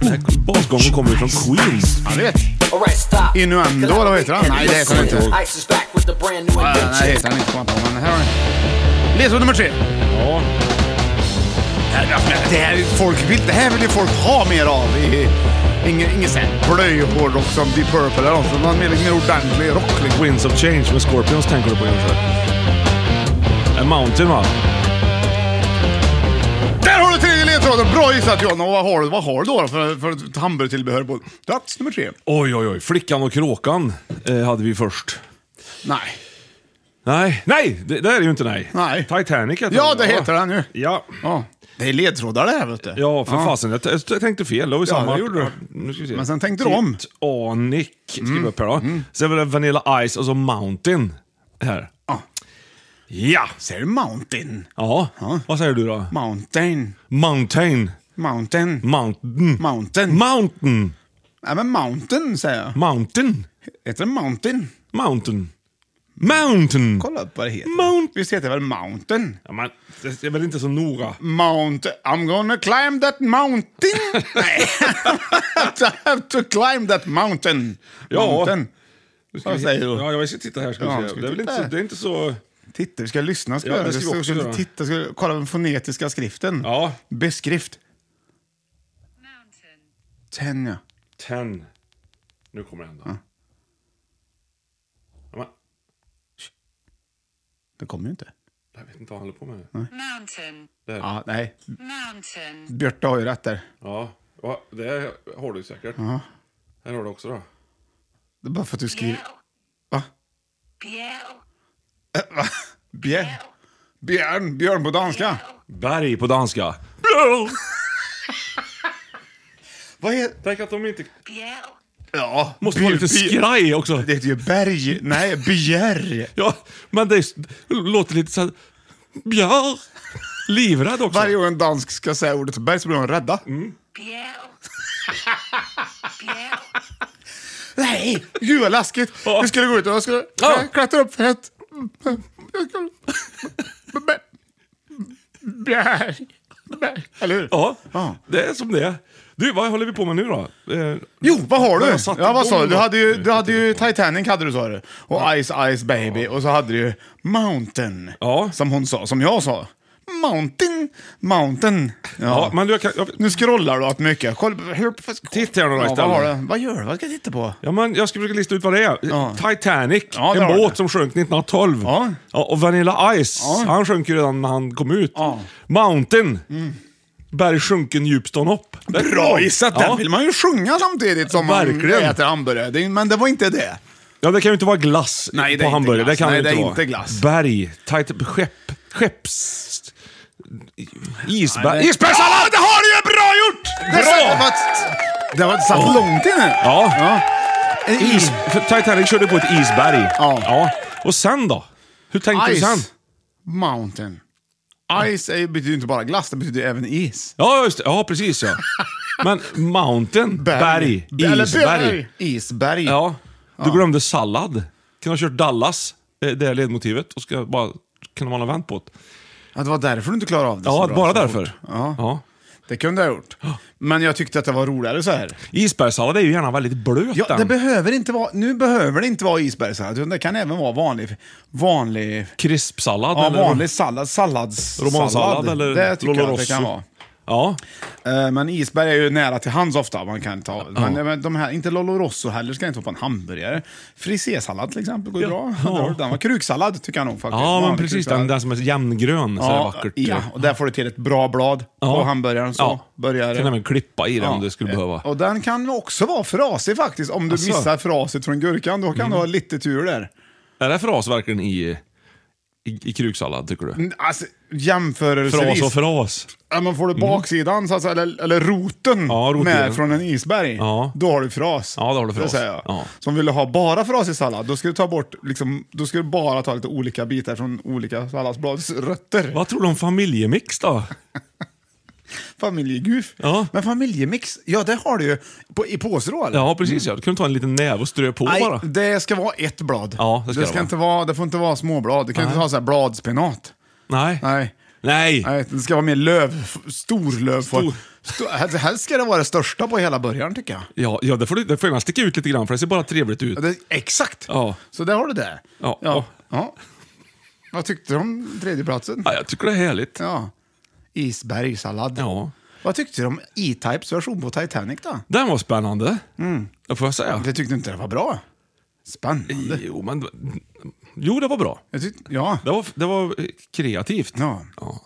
Den här Basgången kommer ju från Queen. Ja, du vet. Alright, stop. Innuendo, eller vad heter han? Nej, det heter han inte. Ice is back with the brand new Ja, Nej, det invention. heter han inte. Kom jag på, Men här har ni. Ledtråd nummer tre. Ja. Det här, är folk vill, det här vill ju folk ha mer av. i- Ingen, ingen sån här blöjhårdrock som Deep Purple eller något sånt. Man menar mer ordentlig rock liksom. Winds of Change med Scorpions tänker du på kanske? A Mountain va? Där har du tredje ledtråden! Bra gissat Johan. Och vad har du, vad har du då för, för ett hamburgertillbehör på plats nummer tre? Oj, oj, oj. Flickan och kråkan eh, hade vi först. Nej. Nej, nej! Det, det är det ju inte nej. Nej. Titanic heter Ja, det va? heter den ju. Ja. Ja. Det är ledtrådar det här vet du. Ja, för fasen. Jag, t- jag tänkte fel. Det var ju Ja, samma. det gjorde du. Nu ska vi se. Men sen tänkte du om. Mm. Titanic skriver jag upp här då. Sen var det Vanilla Ice och så Mountain här. Ja. Ja! Säger du mountain? Ja. Vad säger du då? Mountain. Mountain. Mountain. Mountain. Mountain. Mountain. Nej men mountain säger jag. Mountain. Heter det mountain? Mountain. Mountain. Kolla upp vad det heter. Mount- Visst heter det väl mountain? Ja, men, det är väl inte så noga. Mount... I'm gonna climb that mountain. *laughs* Nej. I have to climb that mountain. Ja. Mountain. Ska Vad vi- säger du? Ja, jag ska titta här. Ska vi Ja, se. ska vi det, är väl titta inte så, här? det är inte så... Titta, vi ska lyssna. Ska Ja, vi göra. det ska vi vi ska, också vi göra. titta, ska vi kolla den fonetiska skriften. Ja. Beskrift. Ten, ja. Ten. Nu kommer den då. Ja, men, Det kommer ju inte. jag vet inte vad han håller på med. Ja, nej. Björte har ju rätt där. Ja, ja, det har du säkert. Här har du också då. Det är bara för att du skriver... Va? Bjäll. Bjär. Björn, björn på danska. Berg på danska. Vad är... Tänk att de inte... Ja. Måste vara lite skraj också. Det heter ju berg. Nej, bjärr. Ja, men det är, låter lite så här... Björn. Livrädd också. Varje gång en dansk ska säga ordet berg så blir de rädda. Mm. *laughs* Nej, gud vad läskigt. Vi skulle gå ut och jag skulle Ja. klättra upp för ett... Bjärr. Bjärr. Eller hur? Ja, det är som det är. Du, vad håller vi på med nu då? Eh, Jo, vad har du? Jag satte Ja, vad sa du? igång Du då. hade ju, du hade ju Titanic, hade du sa du. Och Ice Ice Baby. Och så hade du ju Mountain. Som hon sa, som jag sa. Mountain, mountain. Ja. Ja, men du, jag kan, jag, Nu scrollar du allt mycket. Kolla, hur, titta här nu då ja, istället. vad, har du? vad gör du? Vad ska jag titta på? Ja, men jag ska försöka lista ut vad det är. Titanic, Ja, det en har båt det. som sjönk 1912. Ja. och Vanilla Ice, han sjönk ju redan när han kom ut. Mountain, berg sjunken djupt stånd upp. Det är Mm. Bra gissat! Ja. Den vill man ju sjunga samtidigt som Verkligen. man äter hamburgare. Det- Men det var inte det. Ja, det kan ju inte vara glass Nej, det är på inte hamburgare. glass. Det kan Nej, ju det är vara. inte glass. Berg, tit- skepp, skepps... Isberg... Nej, det- Isbergssallad! Ja, det har du ju! Bra gjort! Det Bra! var- Det har satt Ja. långt inne. Ja. En Is, för Titanic körde på ett isberg. Ja. Och sen då? Hur tänkte du Ice sen? Mountain. Ice är, betyder ju inte bara glass, det betyder även is. Ja, just det. Ja, precis *laughs* ja. Men mountain, berg, Eller isberg. Isberg. Ja. Du glömde sallad. Kunde ha kört Dallas, eh, det här ledmotivet, och ska bara kunde man ha vänt på det. Ja, det var därför du inte klarade av det så Ja, bra, bara så därför. fort. Ja. Ja. Det kunde jag ha gjort. Men jag tyckte att det var roligare så här. Isbergssallad är ju gärna väldigt blöt Ja, det den. behöver inte vara, nu behöver det inte vara isbergssallad, utan det kan även vara vanlig, vanlig, Krispsallad ja, eller vanlig sallad, salladssallad. romansallad eller Det tycker jag att det Rosso. kan vara. Ja. Eh, Men isberg är ju nära till hands ofta. Man kan ta, men, eh, men de här, inte Lollo Rosso heller, ska inte vara på en hamburgare. Frisésallad till exempel går ju bra. Ja. Den var kruksallad tycker jag nog faktiskt. Ja, men Vanlig precis. kruksallad. Den, den som är jämngrön, så är det Ja, vackert. Ja, och där får du till ett bra blad på hamburgaren. Så Ja. börjar Kan även klippa i den om Ja. Eh, du skulle behöva. Alltså. Och den kan också vara frasig faktiskt. Om du Asså. missar fraset från gurkan, då kan Mm. du ha lite tur där. Är det fras verkligen i, i, i kruksallad, tycker du? Mm, Alltså, jämförelsevis. Fras och fras. Ja, men får du baksidan, så att säga, eller, eller roten, Ja, roten. med från en isberg, Ja. då har du fras. Ja, då har du Det fras. säger jag. Ja. Så om du vill ha bara frasig sallad, då ska du ta bort, liksom, då ska du bara ta lite olika bitar från olika salladsblads rötter. Vad tror du om familjemix då? Familjeguf. Ja. Men familjemix, ja det har du ju på, i påsrål. Ja, precis ja. Du kan ta en liten näve och strö på bara. det ska vara ett blad. Ja, det ska det vara. inte vara, det får inte vara småblad. Du kan inte Nej. ha så här bladspenat. Nej. Nej. Nej. Nej, det ska vara mer löv, f- stor löv. Stor. Stor. helst ska det vara det största på hela början tycker jag. Ja, ja det får du det får gärna sticka ut lite grann för det ser bara trevligt ut. Ja, Det, exakt! Ja. Så där har du det. Ja. ja. Ja. Vad tyckte du om tredjeplatsen? Ja, jag tycker det är härligt. Ja. Isbergssallad. Ja. Vad tyckte du om E-Types version på Titanic då? Den var spännande. Mm. Det får jag säga. Jag tyckte inte det var bra. Spännande. Jo, men... Jo, det var bra. Jag tyckte, ja. Det var, det var eh, kreativt. Ja. ja.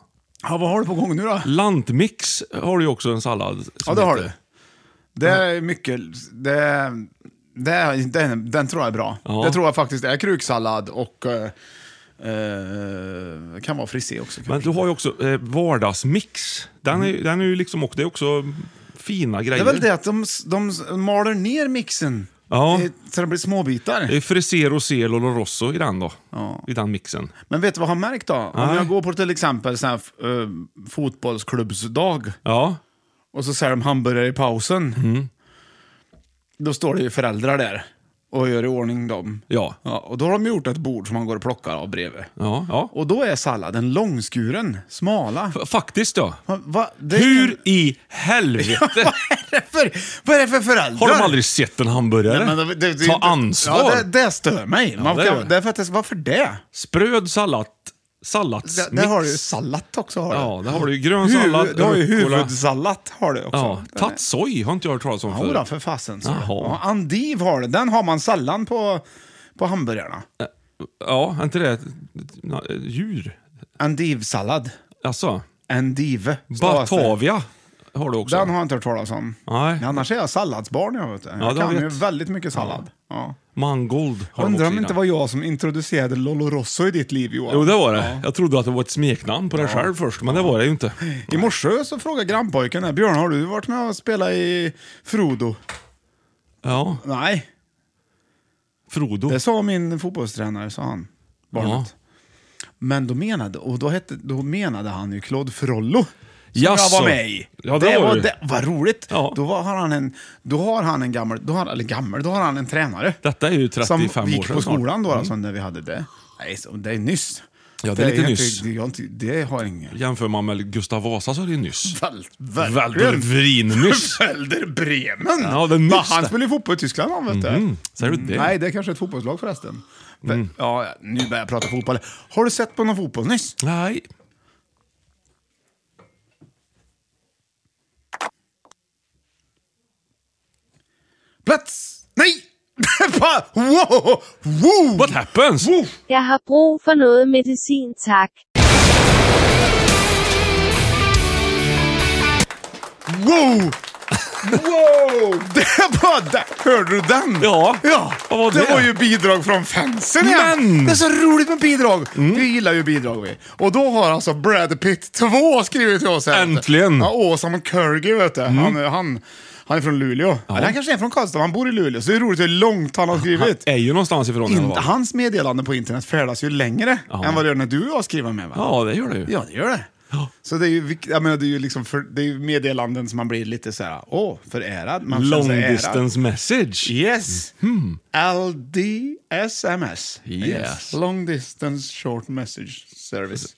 Vad har du på gång nu då? Lantmix har du ju också en sallad. som Ja, det har heter. du. Det är mycket... Det, det, den, den tror jag är bra. Ja. Det tror jag faktiskt är kruksallad och... eh, eh, kan vara frisé också. Men kanske. du har ju också eh, vardagsmix. Den är, ju- den är ju liksom också, det är också fina Mm. det grejer. är väl det att de, de maler ner mixen Ja. eh, så det blir småbitar. Det är frisé, rosé, Lolo Rosso i den då. I den mixen. Men vet du vad jag har märkt då? Om Nej. jag går på till exempel sån här, eh, fotbollsklubbsdag Ja. och så säger de hamburgare i pausen. Mm. Då står det ju föräldrar där och gör i ordning dem. Ja. Ja, och då har de gjort ett bord som man går och plockar av bredvid. Ja. ja. Och då är salladen långskuren, smala. F- Faktiskt ja. Va, va, det är Hur ingen- i *laughs* helvete? För, *laughs* vad är det för föräldrar? Har de aldrig sett en hamburgare? Nej, men det- det- det- Ta ansvar. Ja, det, det stör mig. Man det kan, gör det. det är för att det, varför det? Spröd sallad. Salladsmix. Där, där har du ju sallat också. Har du. Ja, där har du ju grön sallad, Huvud, du har ju rucola. huvudsallat. Har du också. Ja. Den är- Tatsoj har inte jag hört talas om Jodå, förut. för fasen. Så. Jaha. Ja, Andiv har det. Den har man sällan på, på hamburgarna. Ja, är inte det ett- ett- ett djur? Andivsallad. Alltså, Andive. stavas det. Batavia har du också. Den har jag inte hört talas om. Nej. Men Annars är jag salladsbarn. Jag, vet. det jag kan vet. ju väldigt mycket sallad. Ja. Mangold har de Undrar också om i det inte den. var jag som introducerade Lolo Rosso i ditt liv Johan. Jo, det var det. Jag trodde att det var ett smeknamn på dig själv först, men det var det ju inte. I morse så frågade grannpojken här, Björn har du varit med och spelat i Frodo? Ja. Nej. Frodo? Det sa min fotbollstränare, sa han. Barnet. Men då menade, och då, hette, då menade han ju Claude Frollo. Som Jaså. jag var med i. Ja, det var du. det. Vad roligt! Då, var, har han en, då har han en gammal, då har, eller gammal, då har han en tränare. Detta är ju Som 35 år gick sedan på snart. Mm. skolan då, alltså, när vi hade det. Nej, så, det är nyss. Ja, det är lite inte- nyss. det är inte- det har ingen... Jämför man med Gustav Vasa så är det ju nyss. Väl, Väldigt *laughs* vrinnyss. Välder Bremen! Ja, det är nyss Va, han det. spelar ju fotboll i Tyskland han, vet du. Mhm, säger du det? Mm. Nej, det är kanske ett fotbollslag förresten. För- Ja, nu börjar jag prata fotboll. Har du sett på någon fotboll nyss? Nej. Plats! Nej! *laughs* Fan, wow! Woo! What happens? Jeg har brug for noget medicin, tak. Wow! Wow! *laughs* Det var där. Hörde du den? Ja. ja. Vad var det det? var ju bidrag från fansen Men! Mm. igen. Det är så roligt med bidrag. Vi gillar ju bidrag vi. Och då har alltså Brad Pitt 2 skrivit till oss här. Äntligen. Mm. Ja, Åsa McCurgy vet du. Han, han, han är från Luleå. Eller han kanske är från Karlstad, han bor i Luleå. Så det är roligt hur långt han har Han skrivit. är ju någonstans ifrån. i alla In, fall. hans meddelande på internet färdas ju längre Ja. än vad det gör när du och jag skriver med va? Ja, det gör det ju. Ja, det gör det. Så det är ju, vik- jag menar, det är ju liksom för, det är ju meddelanden som man blir lite så här, åh, förärad. Man känner Long sig ärad. distance message. Yes. LDSMS. Yes. Long distance short message service.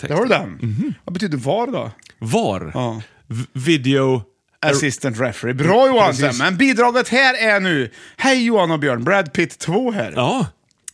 Där har du den. Mhm. Vad betyder VAR då? Var? Ja. V- Video... Assistant referee. Bra Johan! Precis. Men bidraget här är nu, hej Johan och Björn, Brad Pitt 2 här. Ja.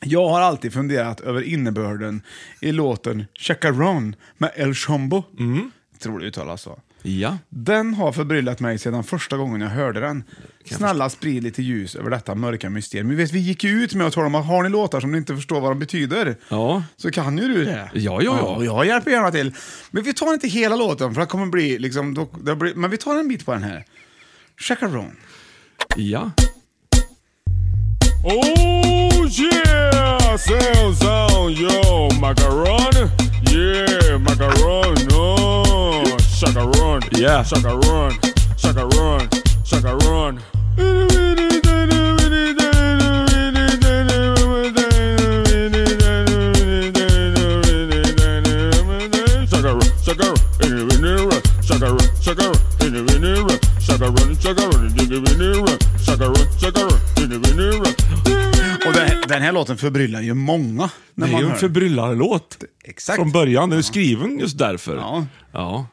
Jag har alltid funderat över innebörden i låten Chacaron med El Chombo. Mhm. Tror det uttalas så. Ja. Den har förbryllat mig sedan första gången jag hörde den. Snälla sprid lite ljus över detta mörka mysterium. Vi, vet, vi gick ju ut med att tala om att har ni låtar som ni inte förstår vad de betyder Ja. så kan ju du det. Ja, ja, ja. och jag hjälper gärna till. Men vi tar inte hela låten för det kommer bli liksom... Då, det blir, men vi tar en bit på den här. Chacaron. Ja. Oh yeah, sounds on yo macaron, yeah macaron, oh chacaron, Yeah. chacaron, chacaron, chacaron. Och den, den här låten förbryllar ju många. När Det är man ju hör. en förbryllarlåt. Exakt. Från början. Den är skriven just därför. Ja. Ja.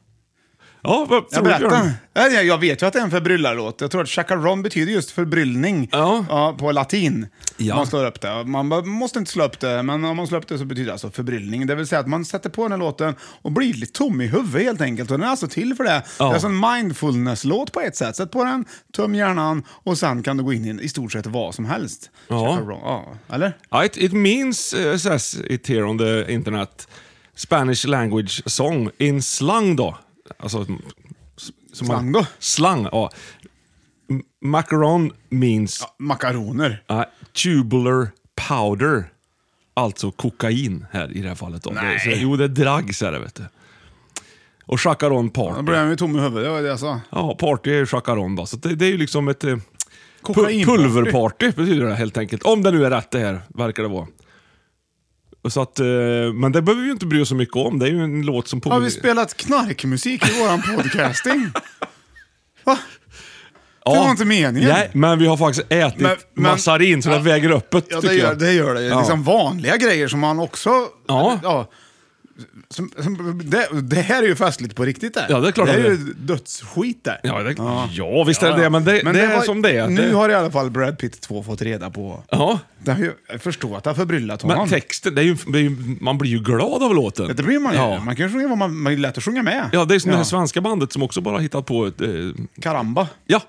Ja, vad Jag tror du, Björn? berättar. Nej, Jag jag vet ju att det är en förbryllarlåt. Jag tror att chacaron betyder just förbryllning Ja. på latin. Ja. Man slår upp det. Man bara- måste inte slå upp det, men om man slår upp det så betyder det alltså förbryllning. Det vill säga att man sätter på den här låten och blir lite tom i huvudet helt enkelt. Och den är alltså till för det. Ja. Det är alltså en mindfulness-låt på ett sätt. Sätt på den, töm hjärnan och sen kan du gå in i i stort sett vad som helst. Ja. Chacaron, ja. Eller? Ja, It, it means, uh, says it here on the internet, Spanish language song in slang då. Alltså, s- som man- Slang då? Slang, ja. M- Macaron means Makaroner. uh, tubular powder. Alltså kokain här i det här fallet. Då. Nej. Det, så, jo, det är drags är det vet du. Och chacaron Då party. blir jag ju tom i huvudet, det var det jag sa. Ja, party är chacaron då. Så det, det är ju liksom ett eh, pu- Kokainparty. pulverparty betyder det helt enkelt. Om det nu är rätt det här, verkar det vara. Och Så att, eh, men det behöver vi ju inte bry oss så mycket om. Det är ju en låt som Har vi påminner... spelat knarkmusik i våran *laughs* podcasting? Ja. det var inte meningen. Nej, men vi har faktiskt ätit Men- men- massarin så Ja. det väger öppet, Ja, det tycker gör jag. det. Gör det. Ja. Liksom vanliga grejer som man också... Ja. som, som, det, det här är ju festligt på riktigt det. Ja, det är klart det är att det ju är. dödsskit det. Ja, det, ja. visst är det det, men det, det, är var- som det är. Nu det, har i alla fall Brad Pitt 2 fått reda på. Ja. Det har ju, jag förstår att det har förbryllat honom. Men texten, det är ju, det är ju, man blir ju glad av låten. det blir man ju. Ja. Man kan ju sjunga vad man, man är lätt att sjunga med. Ja, det är som det här svenska bandet som också bara hittat på ett... Eh, Karamba. ja,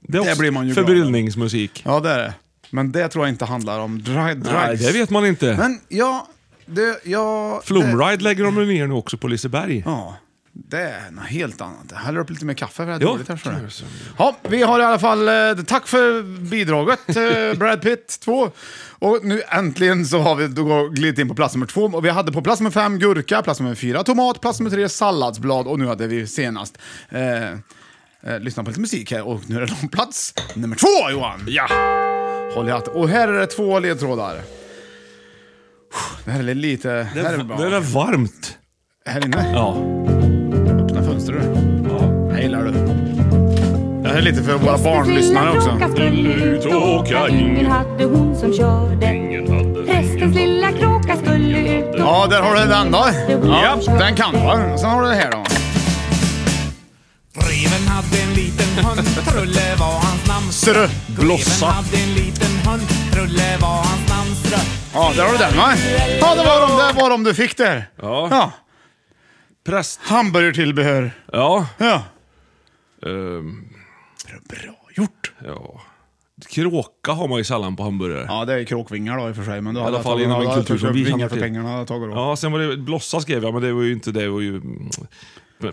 det är Det också blir man ju glad av. förbryllningsmusik. Ja, det är det. Men det tror jag inte handlar om dra- drugs. Nej, det vet man inte. Men ja, det, jag... det- Flumride lägger de ju ner nu också på Liseberg. Ja. Det är något helt annat. Häll upp lite mer kaffe, för det är Jo. dåligt här. förstår du. Ja, vi har i alla fall... eh, Tack för bidraget, *laughs* eh, Brad Pitt 2. Och nu äntligen så har vi då går- glidit in på plats nummer två. Och vi hade på plats nummer fem gurka, plats nummer fyra tomat, plats nummer tre salladsblad och nu hade vi senast eh, eh, lyssnat på lite musik här och nu är det då plats nummer två, Johan! Ja! Håll i hatt. Och här är det två ledtrådar. Det här är lite... Det här är, bra. Det är varmt. Här inne? Ja. Öppna fönstret du. Ja. Jag gillar du. Det här är lite för våra barnlyssnare också. hade hon som körde. Prästens lilla kråka skulle ut Ja, där har du den då. Ja, den kan du. Sen har du det här då. Greven hade en liten hund, Trulle var hans namn. Strö. Blossa. Greven hade en liten hund, Trulle var hans namn. Strö. Ja, där har du den va? Ja, det var de, det var de du fick där. Ja. ja. Präst. Hamburgertillbehör. Ja. Ja. Ehm. Bra gjort. Ja. Kråka har man ju sällan på hamburgare. Ja, det är kråkvingar då i och för sig. Men då I hade alla jag fall tagit- inom ja, en då kultur hade jag som vi köpt känner vingar för till. pengarna hade jag tagit då. Ja, sen var det blossa skrev jag, men det var ju inte det. det var ju, mm,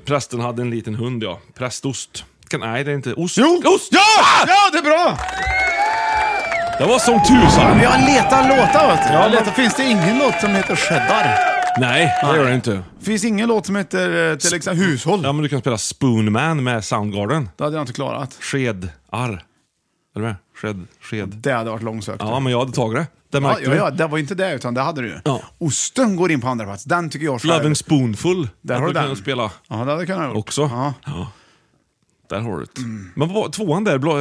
prästen hade en liten hund, ja. Prästost. Kan, nej, det är inte. Ost. Jo! Ost! Ja! Ja, det är bra! Det var som tusan. Jag letar låtar vet du. Jag letar. Finns det ingen låt som heter Cheddar? Nej, det gör det inte. Finns ingen låt som heter eh, till exempel Hushåll? Ja, men du kan spela Spoonman med Soundgarden. Det hade jag inte klarat. Skedar. Är du med? Sked. Sked. Det hade varit långsökt. Ja, men jag hade tagit det. Det Ja, märkte ja, ja, du. det var inte det, utan det hade du ju. Osten går in på andra plats. Den tycker jag själv. Loving Spoonful. Där Att har du den. kunde spela Ja, det hade jag kunnat gjort. också. Ja. Där har du det. Mm. Men vad, tvåan där, blå...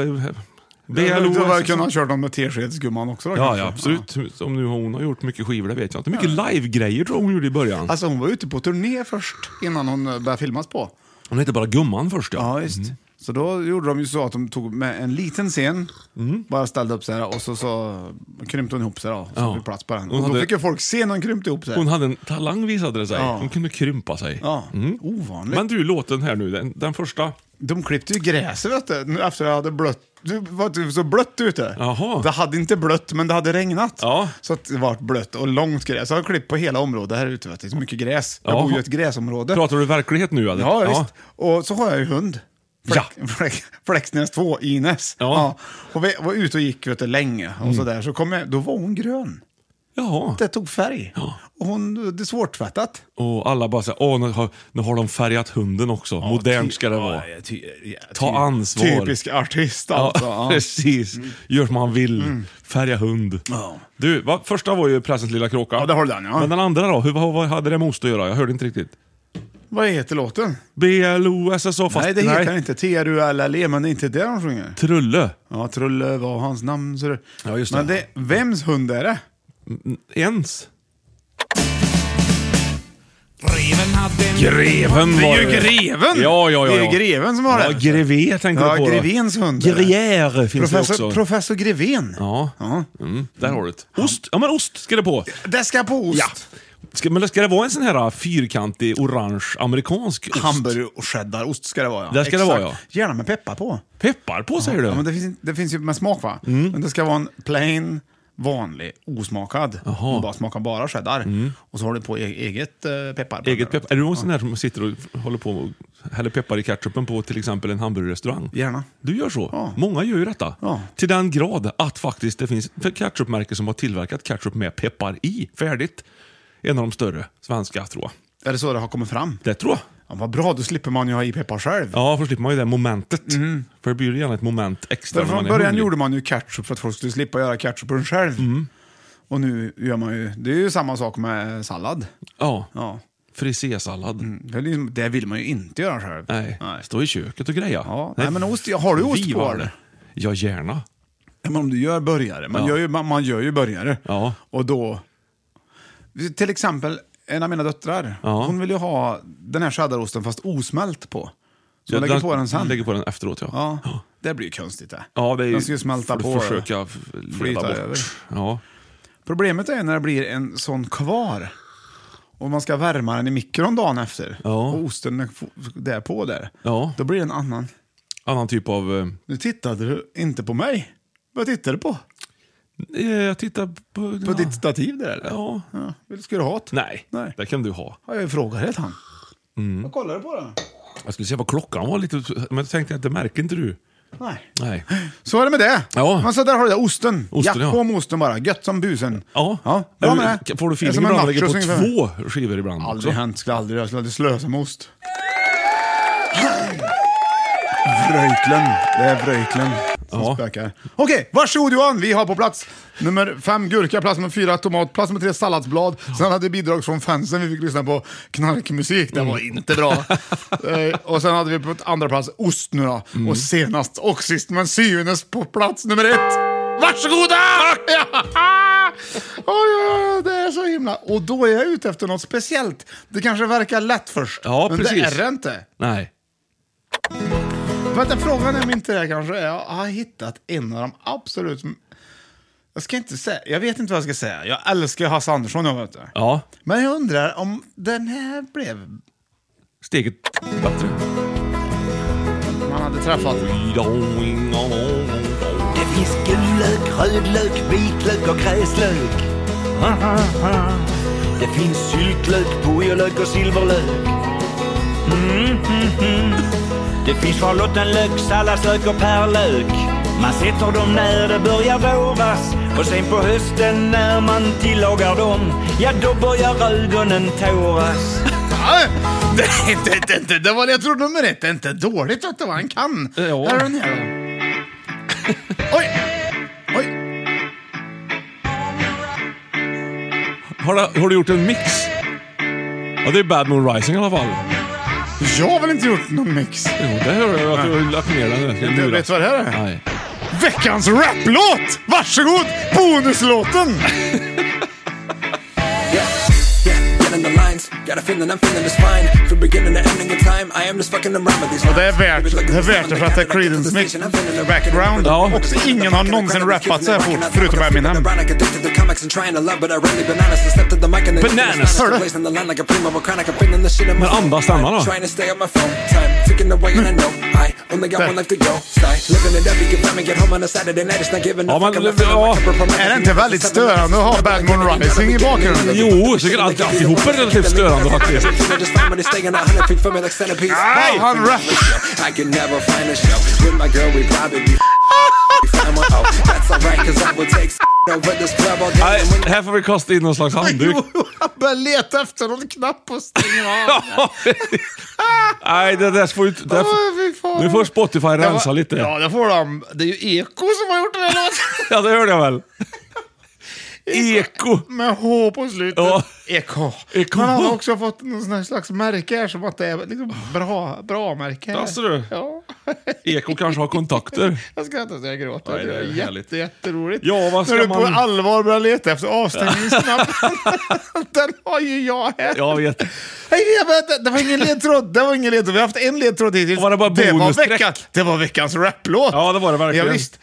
Du BLO... hade väl kunnat köra dem med teskedsgumman också då, Ja, kanske. ja, absolut. Om nu hon har gjort mycket skivor, det vet jag inte. Mycket live-grejer tror jag hon gjorde i början. Alltså hon var ute på turné först, innan hon eh, började filmas på. Hon hette bara Gumman först ja. Ja, just. Så då gjorde de ju så att de tog med en liten scen, Mhm. bara ställde upp så här och så, så krympte hon ihop sig då, så Ja. fick plats på den. Hon Och då hade- fick ju folk se när hon krympte ihop sig. Hon hade en talang visade det sig. Ja. Hon kunde krympa sig. Ja, Mm. ovanligt. Men du, låten här nu, den, den första. De klippte ju gräset vet du, nu efter jag hade blött. Det var typ så blött ute. Det hade inte blött, men det hade regnat. Så att det var blött och långt gräs. Jag har klippt på hela området här ute. Vet du. Det är så mycket gräs. Jag Ja. bor ju i ett gräsområde. Pratar du verklighet nu eller? Ja, visst. Och så har jag ju hund. Fläck, fläck, Fläcksnäs 2, Ines. Ja. Och vi var ute och gick vet du, länge och Mm. sådär. Så kom jag, då var hon grön. Jaha. Det tog färg. Och hon, det är svårtvättat. Och alla bara säger, åh nu har, nu har de färgat hunden också. Modernt ska det vara. Ta ansvar. Typisk artist alltså. Ja, Ja. Mm. precis. Gör som man vill. Färga hund. Du, va, första var ju Prästens lilla kråka. Ja, det har den ja. Men den andra då? Hur, vad, vad hade det med ost att göra? Jag hörde inte riktigt. Vad heter låten? BLOSSO fast... nej, det heter den inte. T-R-U-L-L-E, men det är inte det de sjunger. Trulle. Ja, Trulle var hans namn. Så det... Ja, just det. Men det, vems hund är det? Ens. Greven hade en... Greven Det var är ju greven! Ja, ja, ja. Det är ja. ju greven som har ja, den. Grevé tänkte ja, jag på. då. Grevens hund. Gruyère finns professor, det också. Professor Greven. Ja. Mm, där har du det. Ost. Ja, men ost ska det på. Det ska på ost. Ja. Ska, men ska det vara en sån här äh, fyrkantig, orange, amerikansk ost? Hamburger och cheddarost ska det vara ja. Där ska det Exakt. vara ja. Gärna med peppar på. Peppar på säger du? Ja, men det, finns, inte- det finns ju med smak va? Mm. Men det ska vara en plain, vanlig, osmakad. Du bara smakar bara cheddar. Och så har du på e- eget eh, peppar. på Mm. Eget den. peppar. Är du en sån där som sitter och håller på och häller peppar i ketchupen på till exempel en hamburgerrestaurang? Gärna. Du gör så? Många gör ju detta. Till den grad att faktiskt det finns ketchupmärken som har tillverkat ketchup med peppar i. Färdigt. En av de större svenska tror jag. Är det så det har kommit fram? Det tror jag. Ja, vad bra, då slipper man ju ha i peppar själv. Ja, för slipper man ju det momentet. För det blir ju gärna ett moment extra Därför när Mhm. från man är början hungrig. Mm. gjorde man ju ketchup för att folk skulle slippa göra ketchupen själv. Och nu gör man ju, det är ju samma sak med sallad. Ja. Ja. Frisésallad. Det är liksom- Det vill man ju inte göra själv. Nej. Stå i köket och greja. Ja. Nej, men ost, har du ost vi på, var eller? det. Ja, gärna. Ja, men om du gör burgare, man, Ja. gör, ju, man, man gör ju burgare. Ja. Och då... Till exempel, en av mina döttrar, Ja. hon vill ju ha den här cheddarosten fast osmält på. Så Ja, hon lägger på den sen. Lägger på den efteråt ja. Ja. Det blir ju konstigt det. Ja, det är ju... den ska ju smälta får på. Du försöka f- leda Flyta bort. över. Ja. Problemet är ju när det blir en sån kvar. Och man ska värma den i mikron dagen efter. Och osten är f- där på där. ja. Då blir det en annan. Annan typ av... eh, Nu tittade du inte på mig. Vad tittade du på? eh, Jag tittar på... På ditt stativ där eller? Ja. Vill- Ska du ha ett? Nej. det kan du ha. Ja, jag frågar helt han. Mm. Vad kollar du på då? Jag skulle se vad klockan var lite, men då tänkte jag, det märker inte du. Nej. Nej. Så är det med det. Ja. Men så där har du det, osten. Osten, Jack ja. om osten bara, gött som busen. Ja. bra med det. Får du Det är som feeling en ibland när lägger på nachos ungefär. två skivor ibland Aldrig också? hänt, skulle aldrig, jag skulle aldrig slösa med ost. Vröjtlen, det är vröjtlen som spökar. Okej, varsågod Johan, vi har på plats nummer fem gurka, plats nummer fyra tomat, plats nummer tre salladsblad. Sen hade vi bidrag från fansen, vi fick lyssna på knarkmusik, det var inte bra. Mm. Eh, och sen hade vi på andra plats ost nu då. Och senast och sist men syvendes på plats nummer ett. Varsågoda! Ja. Ah! Oj, oj, oj, det är så himla... Och då är jag ute efter något speciellt. Det kanske verkar lätt först, Ja, men precis. det är det inte. Nej. Vänta, frågan är om inte det kanske är... Jag har hittat en av de absolut... Jag ska inte säga... Jag vet inte vad jag ska säga. Jag älskar Hasse Andersson, jag vet det. Ja, Men jag undrar om den här blev... steget bättre. Man hade träffat... Det finns gulök, rödlök, vitlök och gräslök. Det finns syltlök, purjolök och silverlök. Mm, mm, mm. Det finns schalottenlök, salladslök och pärlök. Man sätter dem när det börjar våras och sen på hösten när man tillagar dem, ja då börjar ögonen tåras. *laughs* Det, det, det, det, det var det jag trodde nummer ett. Det är inte dåligt vet du vad han kan. Här är den här. Har du, har du gjort en mix? Ja, det är Bad Moon Rising i alla fall. Jag har väl inte gjort någon mix? Jo, det hör jag att du har lagt ner den. Du, vet du vad det här är? Nej. Veckans raplåt! Varsågod! Bonuslåten! Getting the lines, got a feeling I'm feeling this fine. From beginning to ending of time, I am just fucking around with these Och det är värt det, är värt det för att det är Creedence mix background. Och ingen har någonsin rappat så här fort, förutom Eminem. addicted to comics and trying to love, but I really bananas to step to the mic and then Bananas. Hörde. Placing the line like a primo volcanic, I'm feeling the shit in my Men andas stannar då? Trying to stay on my phone time, ticking away and I know I only got one life to go. Sigh, living it up, you can find me, get home on a Saturday night, it's not giving a fuck. I'm not feeling like a performer. Är det inte väldigt störande att ha Bad Moon Rising i bakgrunden? Jo, säkert allt, alltihop är relativt *laughs* störande faktiskt. Just fine when it's staying a hundred feet from me like centipede. Nej! Han rap- I can never find a show with my girl. We probably be fine. Well, Oh, that's alright, cause I will take over this club all day. Nej, här får vi kasta in någon slags handduk. Han börjar leta efter någon knapp och stänger av. *laughs* Nej, det där får ju inte... det Åh, fy Får, fan. nu får Spotify Det var- rensa lite. Ja, det får de. Det är ju Eko som har gjort den här *laughs* låten. Ja, det hörde jag *laughs* väl. Eko. Med H på slutet. Ja. Eko. Eko. Man har också fått någon sån här slags märke här som att det är liksom bra, bra märke. här. Jaså du? Ja. Eko kanske har kontakter. Jag skrattar så jag gråter. Nej, det det är är härligt. jätte, jätteroligt. Ja, vad ska När du man- på allvar börjar leta efter *laughs* avstängningsknappen. den har ju jag här. Jag vet. Hej, jag vet, det var ingen ledtråd. Det var ingen ledtråd. Vi har haft en ledtråd hittills. Var det bara bonussträck? veckan, det var veckans raplåt. Ja, det var det verkligen. Ja, visst.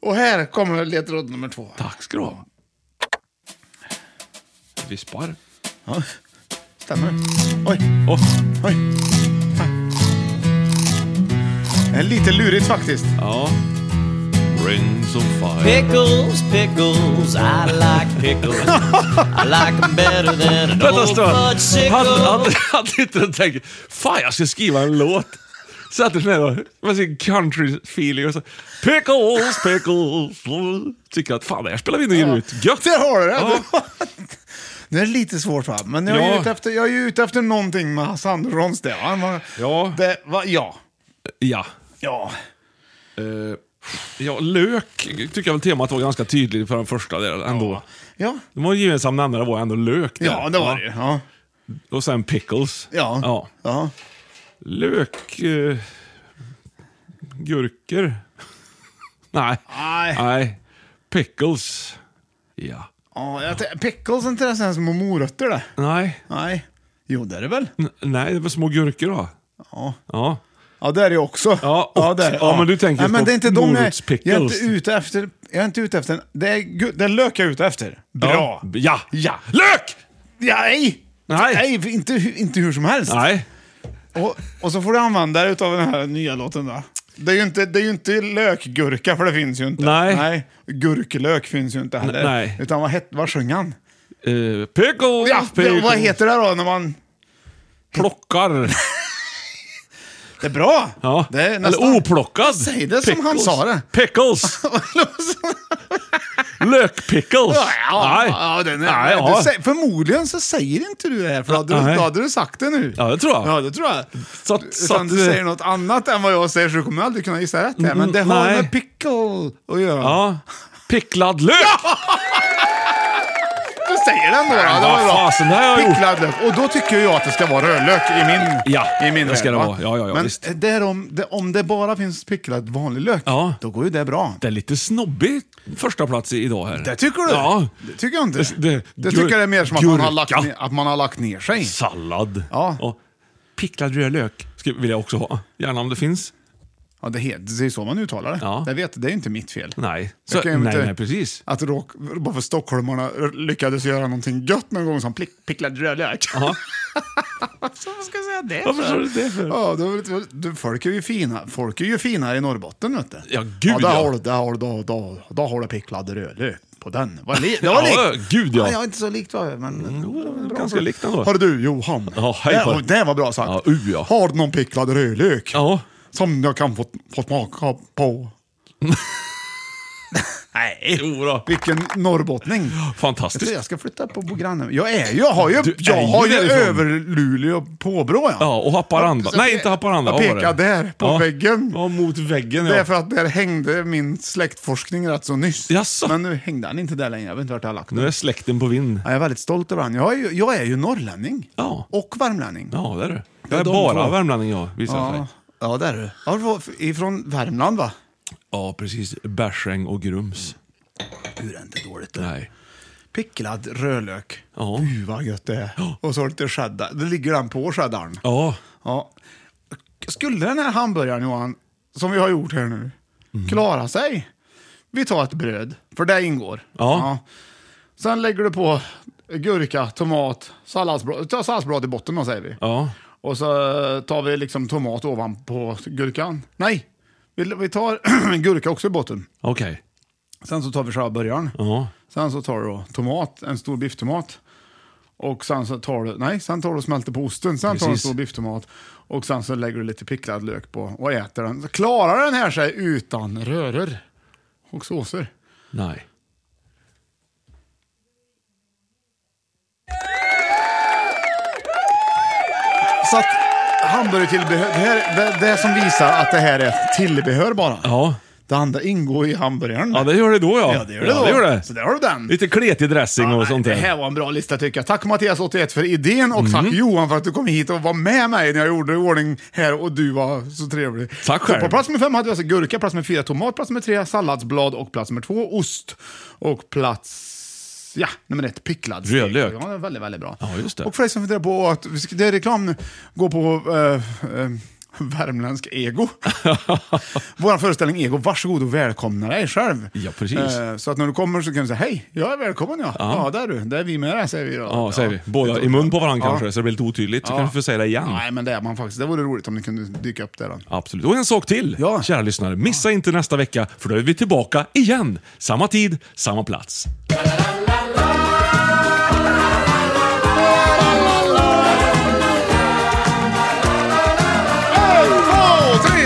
Och här kommer ledtråd nummer två. Tack ska du ha. Vispar. Ja, stämmer. Mm. Oj, Åh, oj. Ah. Det är lite lurigt faktiskt. Ja. Rings of fire. Pickles, pickles, I like pickles. I like them better than an Vänta en old stund. fudge Hade, hade, sickle. hade inte den tänkt, fan jag ska skriva en låt. Satte sig ner och, med sin country-feeling och så, pickles, pickles. Tycker att fan det här spelar vi in och ger ut. Gött! Där har du det! Ja. Det är lite svårt va? Men jag är, Ja. ute, efter, jag är ju ute efter någonting med Hasse Anderssons det. va? Han var, Ja. det va, ja. ja. Ja. Eh, ja, lök tycker jag väl temat var ganska tydligt för den första där ändå. Ja. De var gemensam nämnare var ändå lök. där. ja, det var det ju. Ja. Och sen pickles. Ja. ja. Ja. Lök... Eh, gurkor? *laughs* Nej. Nej. Nej. Pickles. Ja. Ja, jag t- pickles är inte det sen små morötter det? Nej. Nej. Jo, det är det väl? N- nej, det var små gurkor då. Ja. Ja. Ja, det är det ju också. Ja, och- det är det. ja, men du tänker Nej, men på det är inte de jag, jag är morotspickles. inte ute efter. Jag är inte ute efter. Det är, gu- det är lök jag är ute efter. Bra. Ja. ja. Ja. Lök! ja nej! Nej. Nej, inte, hu- inte hur som helst. Nej. Och, och så får du använda dig av den här nya låten då. Det är ju inte, det är ju inte lökgurka för det finns ju inte. Nej. Gurklök finns ju inte heller. Nej. Utan vad, het, vad sjöng han? Eh, pickles, Ja, pickles. det, vad heter det då när man... Plockar. Det är bra! Ja. Det är nästan- Eller oplockad. Säg det som han sa det. *laughs* Pickles. Lökpickles. Ja, Nej. ja, den är, Nej, du ja. säger, förmodligen så säger inte du det här, för då hade, du, Nej. då hade du sagt det nu. Ja, det tror jag. Ja, det tror jag. Så att- så Utan att- du säger något annat än vad jag säger så du kommer aldrig kunna gissa rätt här. Men det har Mm, nej. med pickle att göra. Ja. Picklad lök! Du säger den då. då. Ja, det var vad bra. fasen, det här har jag gjort. Picklad lök. Och då tycker jag att det ska vara rödlök i min Ja, i min det ska värld, det va? vara. Ja, ja, ja, Men visst. det är om, det, om det bara finns picklad vanlig lök, då går ju det bra. Det är lite snobbig första plats i- idag här. Det tycker du? Ja. Det tycker jag inte. Det- det- det tycker jag är mer som att man, har lagt gurka. ner, att man har lagt ner sig. Sallad. Ja. Och picklad rödlök ska- vill jag också ha. Gärna om det finns. Ja, det, heter, det är så man uttalar det. Ja. Jag vet, det är ju inte mitt fel. Nej. Jag Så, kan nej, ju inte- nej, precis. Att råk, bara för stockholmarna lyckades göra någonting gött någon gång som plick- picklad rödlök. *laughs* Ja. Varför ska jag säga det Varför sa du det för? Ja, då, du, folk är ju fina. Folk är ju fina i Norrbotten, vet du. Ja, gud ja. Då ja. har du, då har du, då, då, då har du picklad rödlök på den. Vad li- det var Ja, likt. gud, ja. Jag är inte så likt, va, men... Mm, Ganska likt ändå. Hör du, Johan. Ja, hej det, på var, dig. det var bra sagt. Ja, u ja. Har du någon picklad rödlök? Ja. Som jag kan få, få smaka på? Nej. Jo då. Vilken norrbottning. Jag, Fantastiskt. jag ska flytta på, på grannen. Jag är ju, jag har ju, Du är jag ju har ju därifrån. överlulig påbrå ja. Ja, och Haparanda. Så Nej, jag- inte Haparanda. Jag Vad var pekar det? där, på Ja. väggen. Ja, mot väggen ja. Det är för att där hängde min släktforskning rätt så nyss. Jaså? Men nu hängde han inte där längre. Jag vet inte vart jag har lagt den. Nu är släkten på vind. Ja, Jag är väldigt stolt över han. Jag är ju, jag är ju norrlänning. Ja. Och värmlänning. Ja, det är du. Ja, Jag är de bara två. värmlänning jag, visar det ja. sig. ja det är du. Ja, du var Ifrån Värmland va? Ja, precis. Bärsäng och Grums. Det är inte dåligt. det. Nej. Picklad rödlök. Ja. Fy vad gött det är. Och så lite cheddar. Det ligger den på cheddarn. Ja. Ja. Skulle den här hamburgaren Johan, som vi har gjort här nu, Mm. klara sig? Vi tar ett bröd, för det ingår. Ja. Sen lägger du på gurka, tomat, salladsblad, ta salladsblad i botten då säger vi. Ja. Och så tar vi liksom tomat ovanpå gurkan. Nej, vi, vi tar *clears throat* gurka också i botten. Okej. Sen så tar vi själva burgaren. Ja. Sen så tar du då tomat, en stor bifftomat. Och sen så tar du, nej, sen tar du och smälter på osten, sen tar du en Precis. stor bifftomat och sen så lägger du lite picklad lök på och äter den. Så klarar den här sig utan röror och såser. Nej. Så att hamburgertillbehör, det, här, det, det är som visar att det här är tillbehör bara. Ja. Det andra ingår i hamburgaren. Ja, det gör det då ja. Ja, det gör det då. Så där har du den. Lite kletig dressing och sånt det där. Mm. här var en bra lista tycker jag. Tack Mattias 81 för idén och tack Johan för att du kom hit och var med mig när jag gjorde i ordning här och du var så trevlig. Tack så själv. På plats nummer fem hade vi alltså gurka, plats nummer fyra tomat, plats nummer tre salladsblad och plats nummer två ost. Och plats, ja, nummer ett picklad stek. Rödlök. Ja, det var väldigt, väldigt bra. Ja, just det. Och för dig som funderar på att, vi ska- det är reklam nu, gå på eh, eh, Värmländsk *laughs* ego. Vår föreställning Ego, varsågod och välkomna dig själv. Ja, precis. Eh, Så att när du kommer så kan du säga hej, jag är välkommen ja. Ja, Ja. där är du, där är vi med dig, säger vi då. Ja, säger vi. Båda i mun på varandra kanske, så det blir lite otydligt. Så Ja. kanske vi får säga det igen. Nej, men det är man faktiskt. Det vore roligt om ni kunde dyka upp där. Då. Absolut. Och en sak till, Ja. kära lyssnare. Missa inte nästa vecka, för då är vi tillbaka igen. Samma tid, samma plats.